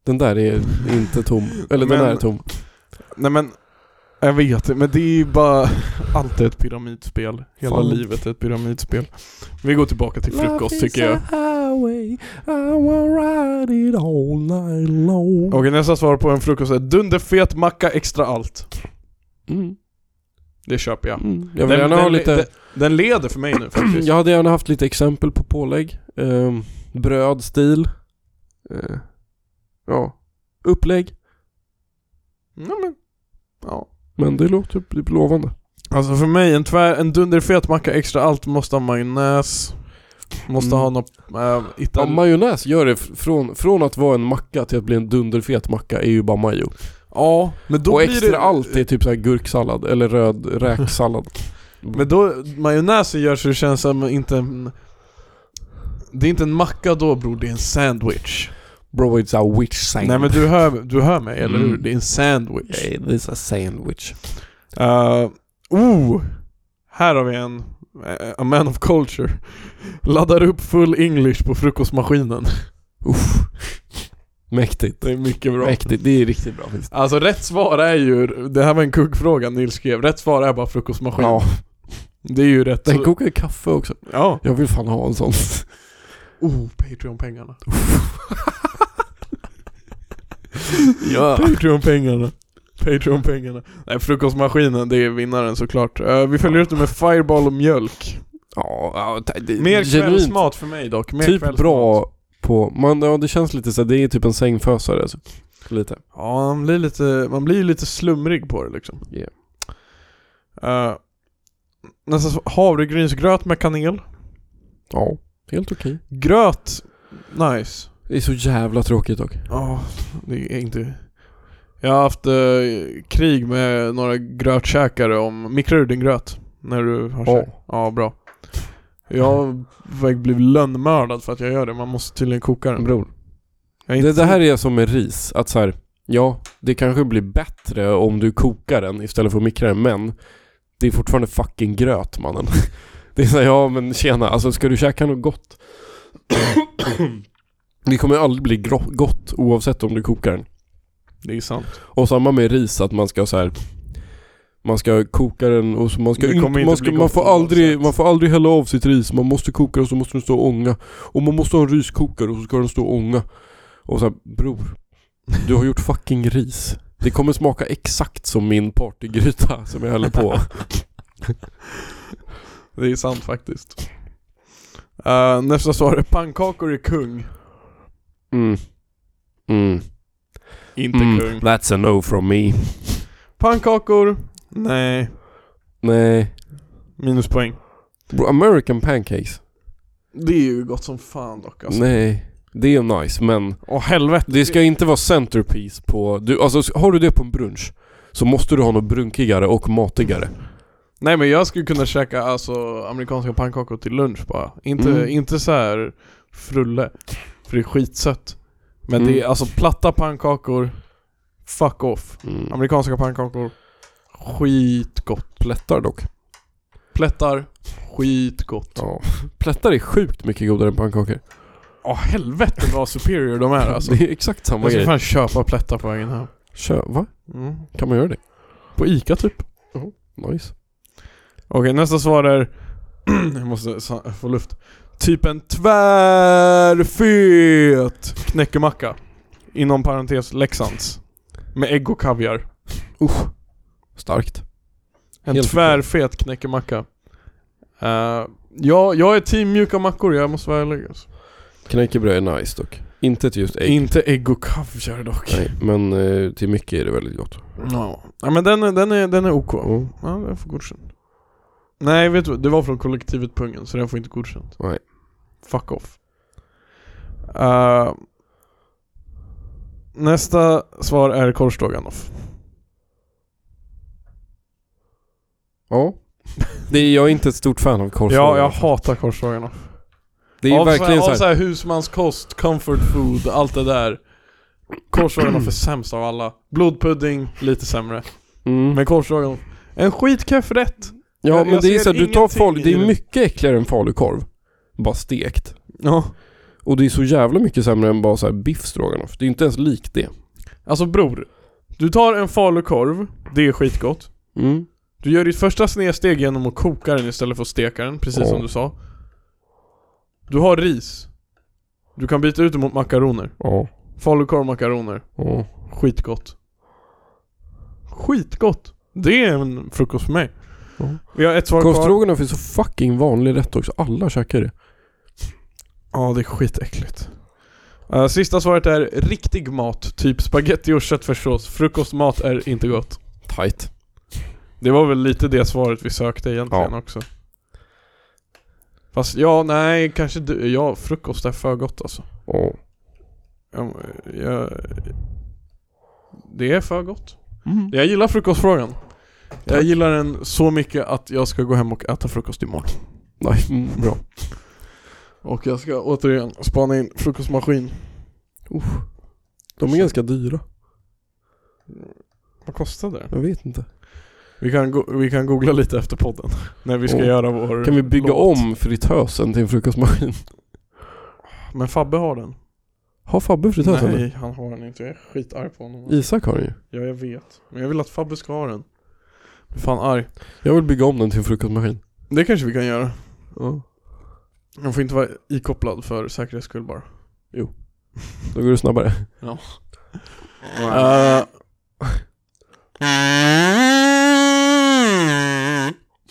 A: Den där är inte tom, eller
B: Men-
A: den där är tom.
B: Nej men, jag vet men det är ju bara, allt är ett pyramidspel. Hela
A: Fan.
B: livet är ett pyramidspel. Vi går tillbaka till frukost tycker jag. Okej nästa svar på en frukost är dunderfet macka extra allt.
A: Mm,
B: Det köper jag.
A: mm. Jag vill gärna
B: den,
A: ha lite...
B: den, den leder för mig nu faktiskt.
A: Jag hade gärna haft lite exempel på pålägg. Ehm, bröd, stil. Eh, ja. Upplägg.
B: Nej, men, ja.
A: Men det låter typ lovande.
B: Alltså för mig, en, tvär, en dunderfet macka extra allt måste ha majonnäs. Måste ha något... Äh,
A: Ja,
B: Italien...
A: majonnäs gör det f- från, från att vara en macka till att bli en dunderfet macka är ju bara majo.
B: Ja, men då
A: och
B: blir
A: extra
B: det...
A: allt är typ så här gurksallad eller röd räksallad.
B: Men då, majonnäsen gör så det känns som inte en... Det är inte en macka då bror, det är en sandwich.
A: Bro it's a witch sandwich.
B: Nej men du hör, du hör mig, eller hur?
A: Mm.
B: Det är en sandwich.
A: It's a sandwich.
B: Uh, oh! Här har vi en. eh, A man of culture. Laddar upp full English på frukostmaskinen.
A: Uff. Mäktigt.
B: Det är mycket bra.
A: Mäktigt, det är riktigt bra faktiskt.
B: Alltså rätt svar är ju, det här var en kuggfråga Nils skrev, rätt svar är bara frukostmaskin.
A: Ja,
B: Det är ju rätt.
A: den
B: Så-
A: kokar kaffe också.
B: ja.
A: Jag vill fan ha en sån.
B: Oh, Patreon-pengarna. ja. Patreon-pengarna. Patreon-pengarna. Nej, frukostmaskinen, det är vinnaren såklart. Eh, vi följer ut det med Fireball och mjölk.
A: Ja, ja, det- det-
B: Mer
A: genuint.
B: kvällsmat för mig dock. Mer
A: Typ
B: kvällsmat.
A: bra på, man, ja det känns lite så här, det är typ en sängfösare alltså. Lite.
B: Ja, man blir lite, man blir ju lite slumrig på det liksom.
A: Yeah.
B: Eh, nästa svar- havregrynsgröt med kanel.
A: Ja, helt okej.
B: Gröt, nice.
A: Det är så jävla tråkigt dock.
B: Ja, det är inte... Jag har haft eh, krig med några grötkäkare om... Mikrar du din gröt? När du har
A: Ja.
B: käkat? Ja, bra. Jag har blivit lönnmördad för att jag gör det. Man måste tydligen koka den.
A: Bror.
B: Jag är
A: Mm. Det,
B: inte
A: det här är som med ris, att så här, ja, det kanske blir bättre om du kokar den istället för att mikra den, men det är fortfarande fucking gröt mannen. Det är såhär, ja men tjena, alltså ska du käka något gott? Det kommer ju aldrig bli gro- gott oavsett om du kokar den.
B: Det är sant.
A: Och samma med ris, att man ska så här. Man ska koka den och så man ska
B: Det
A: inte,
B: kommer inte
A: man, ska,
B: bli
A: man,
B: gott
A: får
B: oavsett.
A: aldrig, man får aldrig hälla av sitt ris, man måste koka det och så måste den stå och ånga. Och man måste ha en riskokare och så ska den stå och ånga. Och så här, bror. Du har gjort fucking ris. Det kommer smaka exakt som min partygryta som jag häller på.
B: Det är sant faktiskt. Eh, nästa svar är pannkakor är kung.
A: Mm. Mm.
B: Inte
A: Mm.
B: kung.
A: That's a no from me.
B: Pannkakor? Nej.
A: Nej.
B: Minuspoäng.
A: Bro, American pancakes.
B: Det är ju gott som fan dock alltså.
A: Nej. Det är nice men
B: Åh helvete.
A: Det ska inte vara centerpiece på... Du, alltså har du det på en brunch så måste du ha något brunkigare och matigare.
B: Nej men jag skulle kunna käka alltså amerikanska pannkakor till lunch bara. Inte,
A: Mm.
B: inte så här frulle, för det är skitsött. Men
A: Mm.
B: det är alltså platta pannkakor, fuck off. Amerikanska pannkakor, skitgott.
A: Plättar dock.
B: Plättar, skitgott.
A: Ja. Plättar är sjukt mycket godare än pannkakor.
B: Ja helvete vad superior de är alltså.
A: Det är exakt samma
B: Jag ska
A: grej.
B: fan köpa plättar på vägen hem.
A: Kö, va?
B: Mm.
A: Kan man göra det?
B: På Ica typ.
A: Nice.
B: Okej, nästa svar är... jag måste sa- få luft. Typ en tvärfet knäckemacka. Inom parentes Leksands. Med ägg och kaviar.
A: Usch. Starkt.
B: En
A: Helt
B: tvärfet knäckemacka. Uh, ja, jag är team mjuka mackor, jag måste vara ärlig. alltså.
A: Knäckebröd är nice dock. Inte till just ägg.
B: Inte ägg och kaviar dock.
A: Nej, men eh, till mycket är det väldigt gott.
B: Ja. Ja, men den är, den är, den är OK.
A: Mm.
B: Ja, den får godkänt. Nej, vet du vad? Det var från kollektivet Pungen, så den får inte godkänt.
A: Nej.
B: Fuck off. Eh, nästa svar är korvstroganoff.
A: Ja. Det är, jag är inte ett stort fan av korv.
B: Ja, jag hatar korvstroganoff.
A: Det är
B: av
A: verkligen
B: så här,
A: så här.
B: Av så här husmanskost, comfort food, allt det där. Korvstroganoff är sämst av alla. Blodpudding, lite sämre.
A: Mm.
B: Men korvstroganoff, en skitkeff rätt.
A: Ja,
B: jag-
A: men
B: jag
A: det är
B: ser
A: så här, du tar
B: ingenting
A: falu... Det
B: i
A: är
B: det.
A: mycket äckligare än falukorv. Bara stekt.
B: Ja.
A: Och det är så jävla mycket sämre än bara så här biff stroganoff. Det är inte ens likt det.
B: Alltså bror, du tar en falukorv, det är skitgott.
A: Mm.
B: Du gör ditt första snedsteg genom att koka den istället för att steka den, precis
A: Ja.
B: som du sa. Du har ris. Du kan byta ut det mot makaroner.
A: Ja.
B: Falukorv och makaroner.
A: ja.
B: Skitgott. Skitgott. Det är en frukost för mig.
A: Ja.
B: Vi har ett svar
A: Korv
B: kvar.
A: stroganoff är så fucking vanlig rätt också. Alla käkar det.
B: Ja, det är skitäckligt. Eh, sista svaret är riktig mat, typ spaghetti och köttfärssås. Frukostmat är inte gott.
A: Tight.
B: Det var väl lite det svaret vi sökte egentligen
A: Ja.
B: också. Fast ja, nej, kanske du, ja, frukost är för gott alltså.
A: Ja.
B: Jag, jag, det är för gott. Jag gillar frukostfrågan. Jag gillar den så mycket att jag ska gå hem och äta frukost imorgon.
A: Nej, mm, bra.
B: Och jag ska återigen spana in frukostmaskin.
A: De är ganska dyra.
B: Vad kostar det?
A: Jag vet inte.
B: Vi kan, go- vi kan googla lite efter podden. När vi ska
A: Oh.
B: göra vår
A: Kan vi bygga
B: låt.
A: om fritösen till en frukostmaskin?
B: Men Fabbe har den.
A: Har Fabbe fritösen?
B: Nej, han har den inte. Jag är skitarg på honom.
A: nu? Isak har den ju.
B: Ja, jag vet. Men jag vill att Fabbe ska ha den. Jag är fan arg.
A: Jag vill bygga om den till en frukostmaskin.
B: Det kanske vi kan göra.
A: Ja.
B: Han får inte vara ikopplad för säkerhets skull bara.
A: Då går det snabbare.
B: Eh,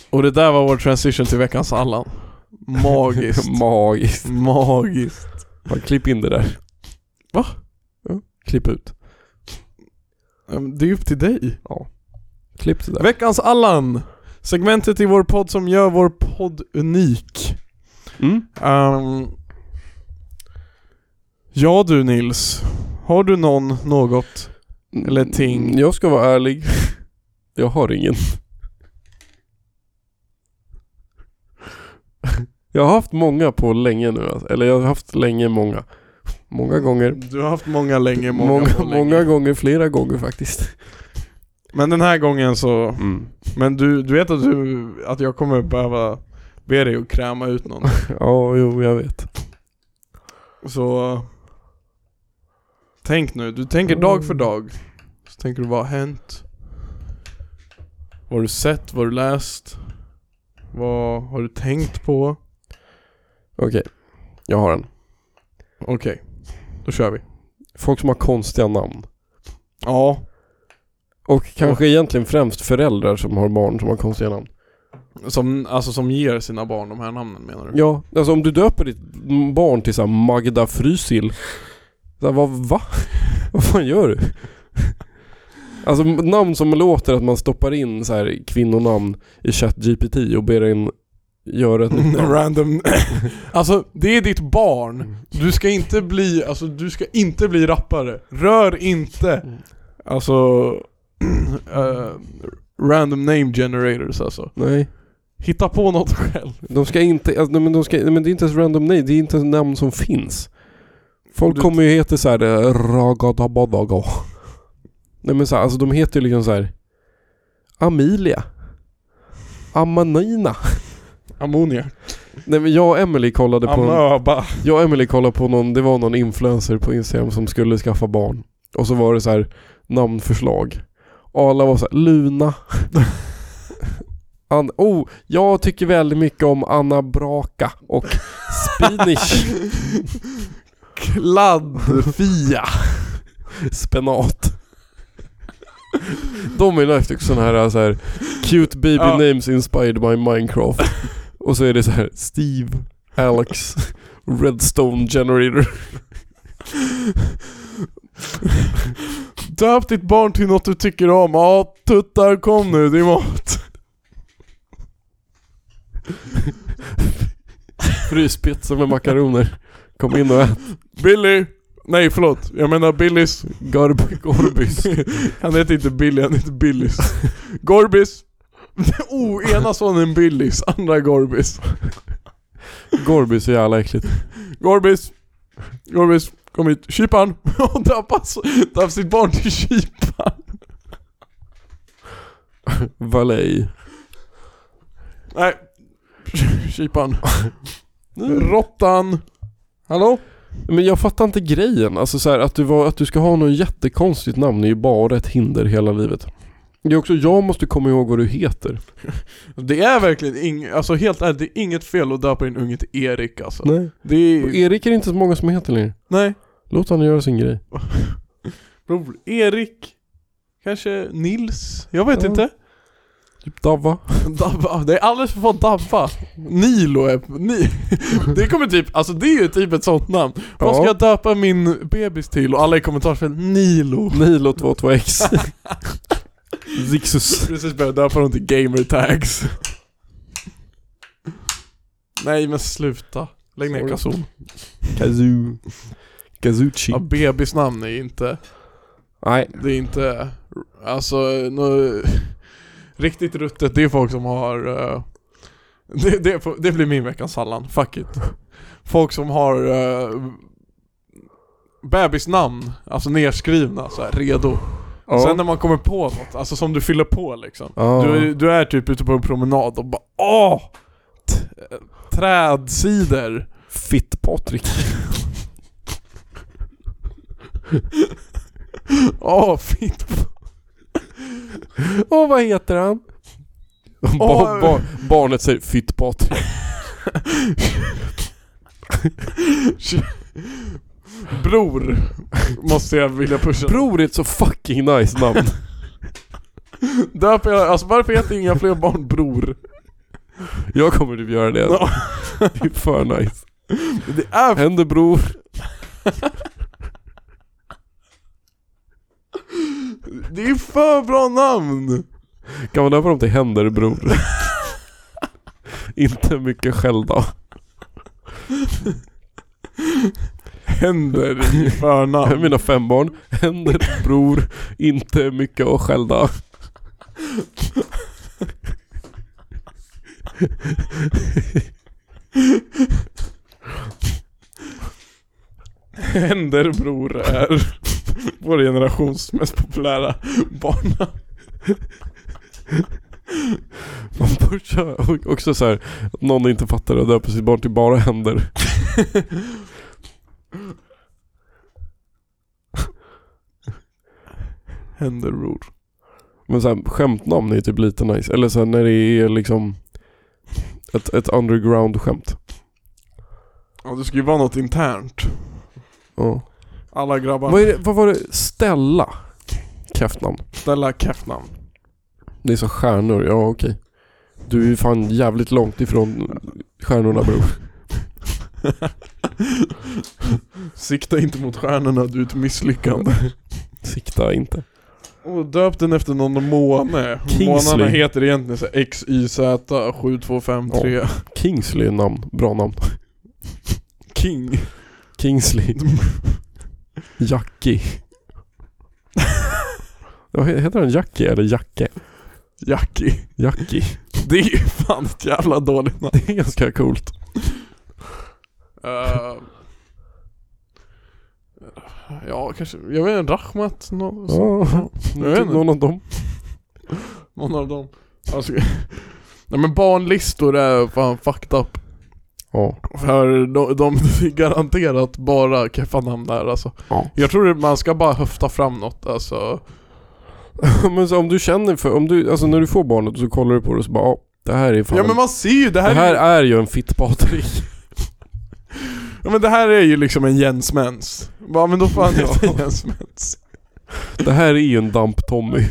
B: och det där var vår transition till veckans Allan. Magiskt.
A: Magiskt.
B: Magiskt.
A: Bara klipp in det där.
B: Va?
A: Ja, klipp ut.
B: Eh, Det är upp till dig.
A: Klipp det där.
B: Veckans Allan. Segmentet i vår podd som gör vår podd unik.
A: Mm.
B: Ehm, ja du Nils, har du någon, något? Eller ting.
A: Mm, Jag ska vara ärlig. Jag har ingen. Jag har haft många på länge nu. alltså. Eller jag har haft länge många. Många gånger.
B: Du har haft många länge, många,
A: Många,
B: på
A: många,
B: länge.
A: gånger, flera gånger faktiskt.
B: Men den här gången så, men du, du vet att, du, att jag kommer behöva be dig att kräma ut någon.
A: Ja, jo, jag vet.
B: Så tänk nu, du tänker
A: Mm.
B: dag för dag. Så tänker du vad har hänt? Vad har du sett? Vad har du läst? Vad har du tänkt på?
A: Okej, jag har en.
B: Okej, då kör vi.
A: Folk som har konstiga namn.
B: Ja,
A: Och kanske egentligen främst föräldrar som har barn som har konstiga namn.
B: som, alltså som ger sina barn de här namnen menar du?
A: Ja, alltså om du döper ditt barn till så här Magda Frysil. Så här, vad, va? Vad fan gör du? Alltså namn som låter att man stoppar in så här kvinnonamn i ChatGPT och ber den göra ett nytt namn.
B: Random Alltså det är ditt barn Du ska inte bli, alltså du ska inte bli rappare Rör inte Alltså eh, Random name generators alltså
A: Nej,
B: Hitta på något själv
A: de ska inte, alltså, nej, men, de ska, nej, men det är inte ens random nej, det är inte ens namn som finns. Folk
B: Du-
A: kommer ju heta såhär Ragadabadaga. Nej men så här, alltså de heter ju liksom så här Amelia. Amanina.
B: Ammoniak
A: Nej men jag och Emily kollade på en,
B: Amöba
A: Jag och Emily kollade på någon, det var någon influencer på Instagram som skulle skaffa barn. Och så var det så här namnförslag. Och alla var så här, Luna. An- oh, jag tycker väldigt mycket om Anna Braka och Spinach.
B: Kladdfia
A: Spenat. De är lagt också sådana här, äh, så här cute baby
B: Ja.
A: names inspired by Minecraft. Och så är det så här Steve, Alex, Redstone Generator.
B: Döp ditt barn till något du tycker om Ja, tuttar kom nu, det är mat
A: Fryspizza med makaroner. Kom in och ät.
B: Billy Nej förlåt, jag menar Billys
A: Garb Gorbis.
B: Han heter inte Billy, han heter Billis. Gorbis. Oh, ena sonen Billis, andra Gorbis.
A: Gorbis är jävla äckligt.
B: Gorbis. Gorbis, kom hit. Kypan. Och döpas, döps sitt barn till Kypan.
A: Valej.
B: Nej. Kypan. Råttan. Hallå?
A: Mm. Men jag fattar inte grejen. Alltså så här, att, du var, att du ska ha något jättekonstigt namn är ju bara ett hinder hela livet. Det är också, jag måste komma ihåg vad du heter.
B: Det är verkligen inget, alltså helt ärligt, det är inget fel att döpa din unge till Erik alltså.
A: Nej. E-
B: Det är,
A: Erik är det inte så många som heter längre.
B: nej.
A: Låt han göra sin grej.
B: Bror, Erik. Kanske Nils? Jag vet
A: Ja.
B: inte.
A: Typ Davva.
B: Dabba, det är alldeles för få dabba. Nilo är... Ni, det kommer typ, alltså det är ju typ ett sånt namn. Vad ska
A: Ja.
B: jag döpa min bebis till? Och alla i kommentarsfältet, Nilo.
A: Nilo 22X. Zixus.
B: Precis börjat döpa dem till gamer tags. Nej men sluta. Lägg ner
A: Sorry.
B: Kazoo.
A: Kazoo. Kazoochi.
B: Ja, bebisnamn är inte,
A: Nej.
B: det är inte, alltså nå- riktigt ruttet, det är folk som har, eh, det, det, får- det blir min veckans Halland, fuck it. Folk som har uh, bebisnamn, alltså nedskrivna så här, redo.
A: Ja.
B: Sen när man kommer på något, alltså som du fyller på liksom.
A: Ja.
B: Du, du är typ ute på en promenad och bara åh! T- trädsidor.
A: Fitt-Patrik.
B: Åh, fint.
A: Åh, vad heter han? Bar,
B: Åh.
A: bar, barnet säger Fitt-Patrik.
B: Bror. Måste jag vilja pusha.
A: Bror är ett så fucking nice namn.
B: Döper jag, alltså varför heter inga fler barn bror?
A: Jag kommer typ göra det.
B: Ja.
A: Det är för nice.
B: Det är f-
A: Händer bror.
B: det är för bra namn!
A: Kan man döpa dem till Händer bror? Inte mycket skäll då.
B: Händer i
A: Jag är
B: förnamn.
A: Mina fem barn. Händer bror. Inte mycket att skäll då.
B: Händer bror är vår generations mest populära barnnamn.
A: Man pushar och också så här, att någon inte fattar och döper sitt barn till bara Händer.
B: Händer bror.
A: Men så här, skämtnamn är typ lite nice. Eller så här, när det är liksom ett, ett underground-skämt.
B: Ja det ska ju vara något internt.
A: Ja.
B: Alla grabbar
A: Vad, är det, vad var det? Stella? Kräftnamn.
B: ställa keffnamn.
A: Det är så stjärnor, ja okej. Du är ju fan jävligt långt ifrån stjärnorna bror.
B: Sikta inte mot stjärnorna, du är ett misslyckande.
A: Sikta inte.
B: Och döp den efter någon måne. Månarna
A: Kingsley.
B: heter egentligen så här XYZ7253
A: Kingsley är namn, bra namn.
B: King.
A: Kingsley. Jackie. Ja, he- Heter han Jackie eller Jacke?
B: Jackie.
A: Jackie.
B: Det är ju fan ett jävla dåligt namn.
A: Det är ganska coolt.
B: Eh, ja, kanske. Jag vet inte, Rachmat? Någon,
A: Ja,
B: jag vet
A: typ
B: inte.
A: någon av dem.
B: någon av dem. Alltså, nej men barnlistor är fan fucked up.
A: Ja.
B: För de, de är garanterat bara keffa namn där alltså.
A: Ja.
B: Jag tror att man ska bara höfta fram något alltså.
A: Men så om du känner för, om du, alltså när du får barnet så kollar du på det och så bara ja, det här är fan
B: Ja men man ser ju, det här,
A: Det
B: är
A: här
B: ju,
A: är ju en fitt-Patrik.
B: ja, men det här är ju liksom en Jens Mens. Ja men då får han heta Jens Mens.
A: Det här är ju en damp-Tommy.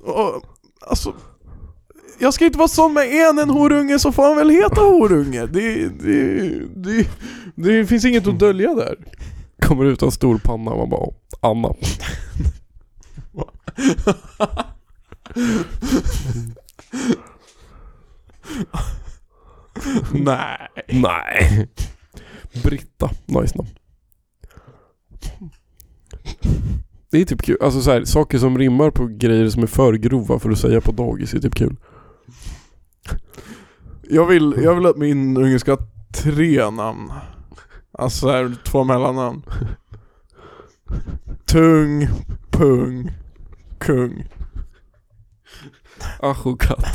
B: Och, alltså, jag ska inte vara sån med en, en horunge så får han väl heta horunge. Det, det, det, det finns inget att dölja där.
A: Kommer ut en stor panna och man bara "Åh, Anna.
B: Nej.
A: Nej. Britta, nice namn. Det är typ kul, alltså så här, saker som rimmar på grejer som är för grova för att säga på dagis är typ kul.
B: Jag vill, jag vill att min unge ska ha tre namn. Alltså här, två mellannamn. Tung, pung, kung.
A: Ashokat.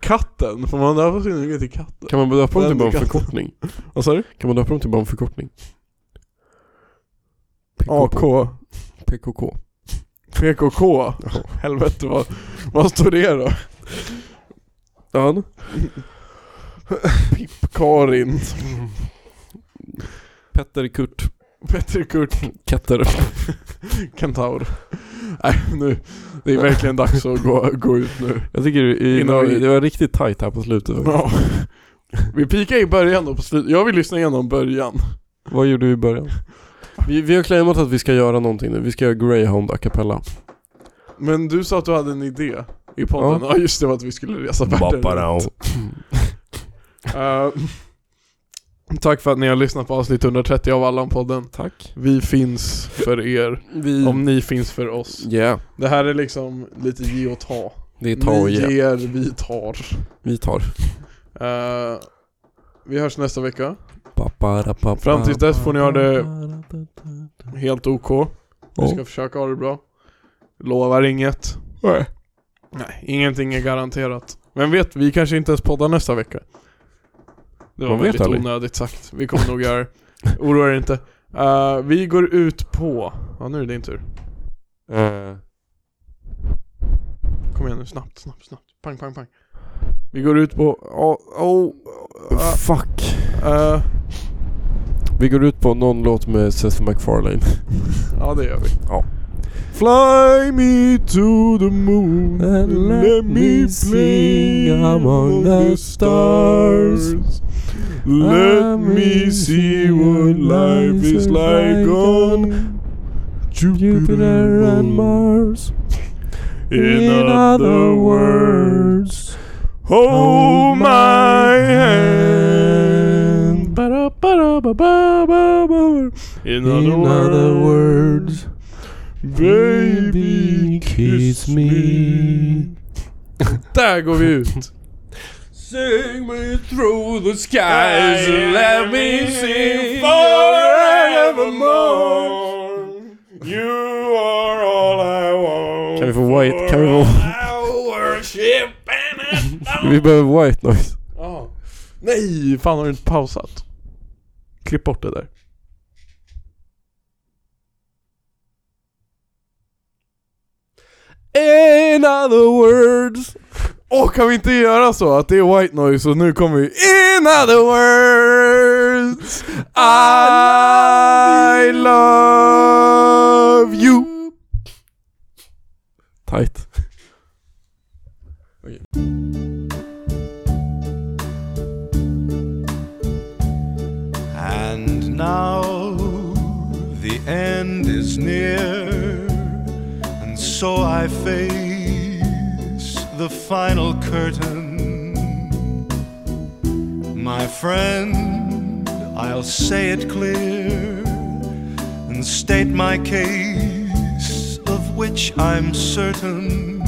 B: Katten, får man döpa sin unge till katten?
A: Kan man döpa dem till bara en
B: Vända katten.
A: förkortning?
B: Vad sa du?
A: Kan man döpa dem till bara en förkortning?
B: AK.
A: PKK.
B: PKK. Helvete vad, vad står det då?
A: Ja.
B: Pipp-Karin.
A: Petter Kurt.
B: Petter Kurt
A: Ketter.
B: Kentaur. Nej nu, det är verkligen dags att gå, gå ut nu.
A: Jag tycker det
B: Innan
A: var,
B: vi-
A: det var riktigt tight här på slutet.
B: Ja. Vi pikar i början då på slutet. Jag vill lyssna igenom början.
A: Vad gjorde vi i början? Vi, vi har claimat att vi ska göra någonting nu. Vi ska göra Greyhound a cappella.
B: Men du sa att du hade en idé i podden. Ja, just det, var att vi skulle resa världen
C: Bapparao.
B: runt. Eh, Tack för att ni har lyssnat på avsnitt 130 av Allan-podden.
A: Tack.
B: Vi finns för er,
A: Vi...
B: om ni finns för oss.
A: Ja,
B: Det här är liksom lite ge och ta.
A: det är ta och
B: ni
A: ge.
B: ger, vi tar.
A: Vi tar.
B: Eh, vi hörs nästa vecka.
A: Ba-ba-da-ba-ba.
B: Fram tills dess får ni ha det helt OK. Vi
A: Ja.
B: ska försöka ha det bra. Lovar inget.
A: Nej.
B: Nej, ingenting är garanterat. Men vet, vi kanske inte ens poddar nästa vecka. Det var
A: Man vet
B: väldigt
A: aldrig.
B: onödigt sagt. Vi kommer nog göra det. Oroa er inte. Eh, vi går ut på... Ja, nu är det din tur.
A: Eh,
B: Kom igen nu, snabbt, snabbt, snabbt. Pang, pang, pang. Vi går ut på... Oh, oh, ah,
A: fuck.
B: eh,
A: Vi går ut på någon låt med Seth MacFarlane.
B: ja, det gör vi.
A: Fly me to the moon
B: and let me sing among the stars. Let me see what life is like on
A: Jupiter and Mars.
B: in other words. Hold my hand. Ba-da-ba-da-ba-ba-ba-ba.
A: In
B: In
A: other words,
B: baby kiss me. Där går vi ut.
A: Sing me through the skies and let me sing forevermore.
B: forevermore.
A: You are all I want. Kan vi få white? Kan vi få... vi behöver white noise.
B: Ja. Nej, fan har du inte pausat? Klipp bort det där.
A: In other words.
B: Åh, kan vi inte göra så att det är white noise och nu kommer vi In other words I love you
A: Tight.
F: And now the end is near, and so I face the final curtain. My friend, I'll say it clear and state my case of which I'm certain.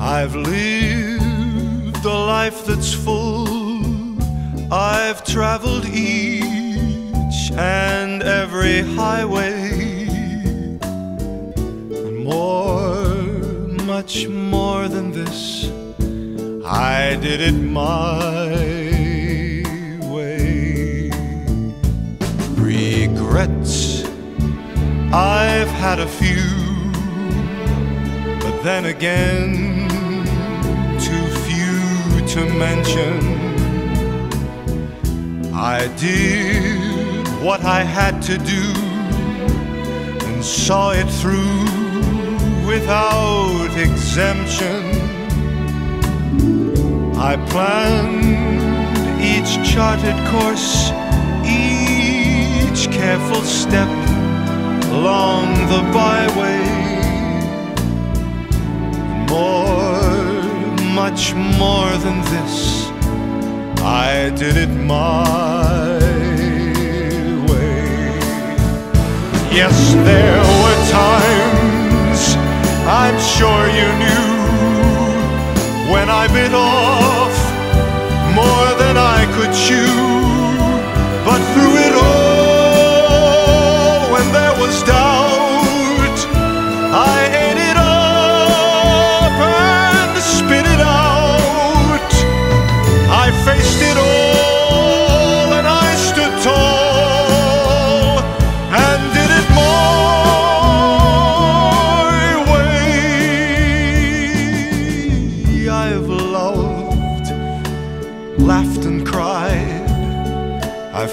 F: I've lived a life that's full. I've traveled each and every highway. And more, much more than this, I did it my way. Regrets, I've had a few. But then again, too few to mention. I did what I had to do and saw it through without exemption. I planned each charted course, each careful step along the byway more, much more than this. I did it my way. Yes, there were times I'm sure you knew when I bit off more than I could chew. But through it all, when there was doubt, I ate it up and spit it out. I faced it all and I stood tall and did it my way. I've loved, laughed and cried. I've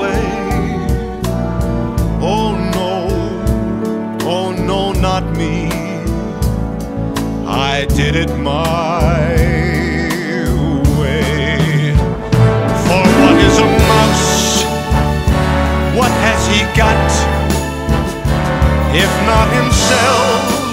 F: way. Oh no, oh no, not me. I did it my way. For what is a mouse? What has he got? If not himself?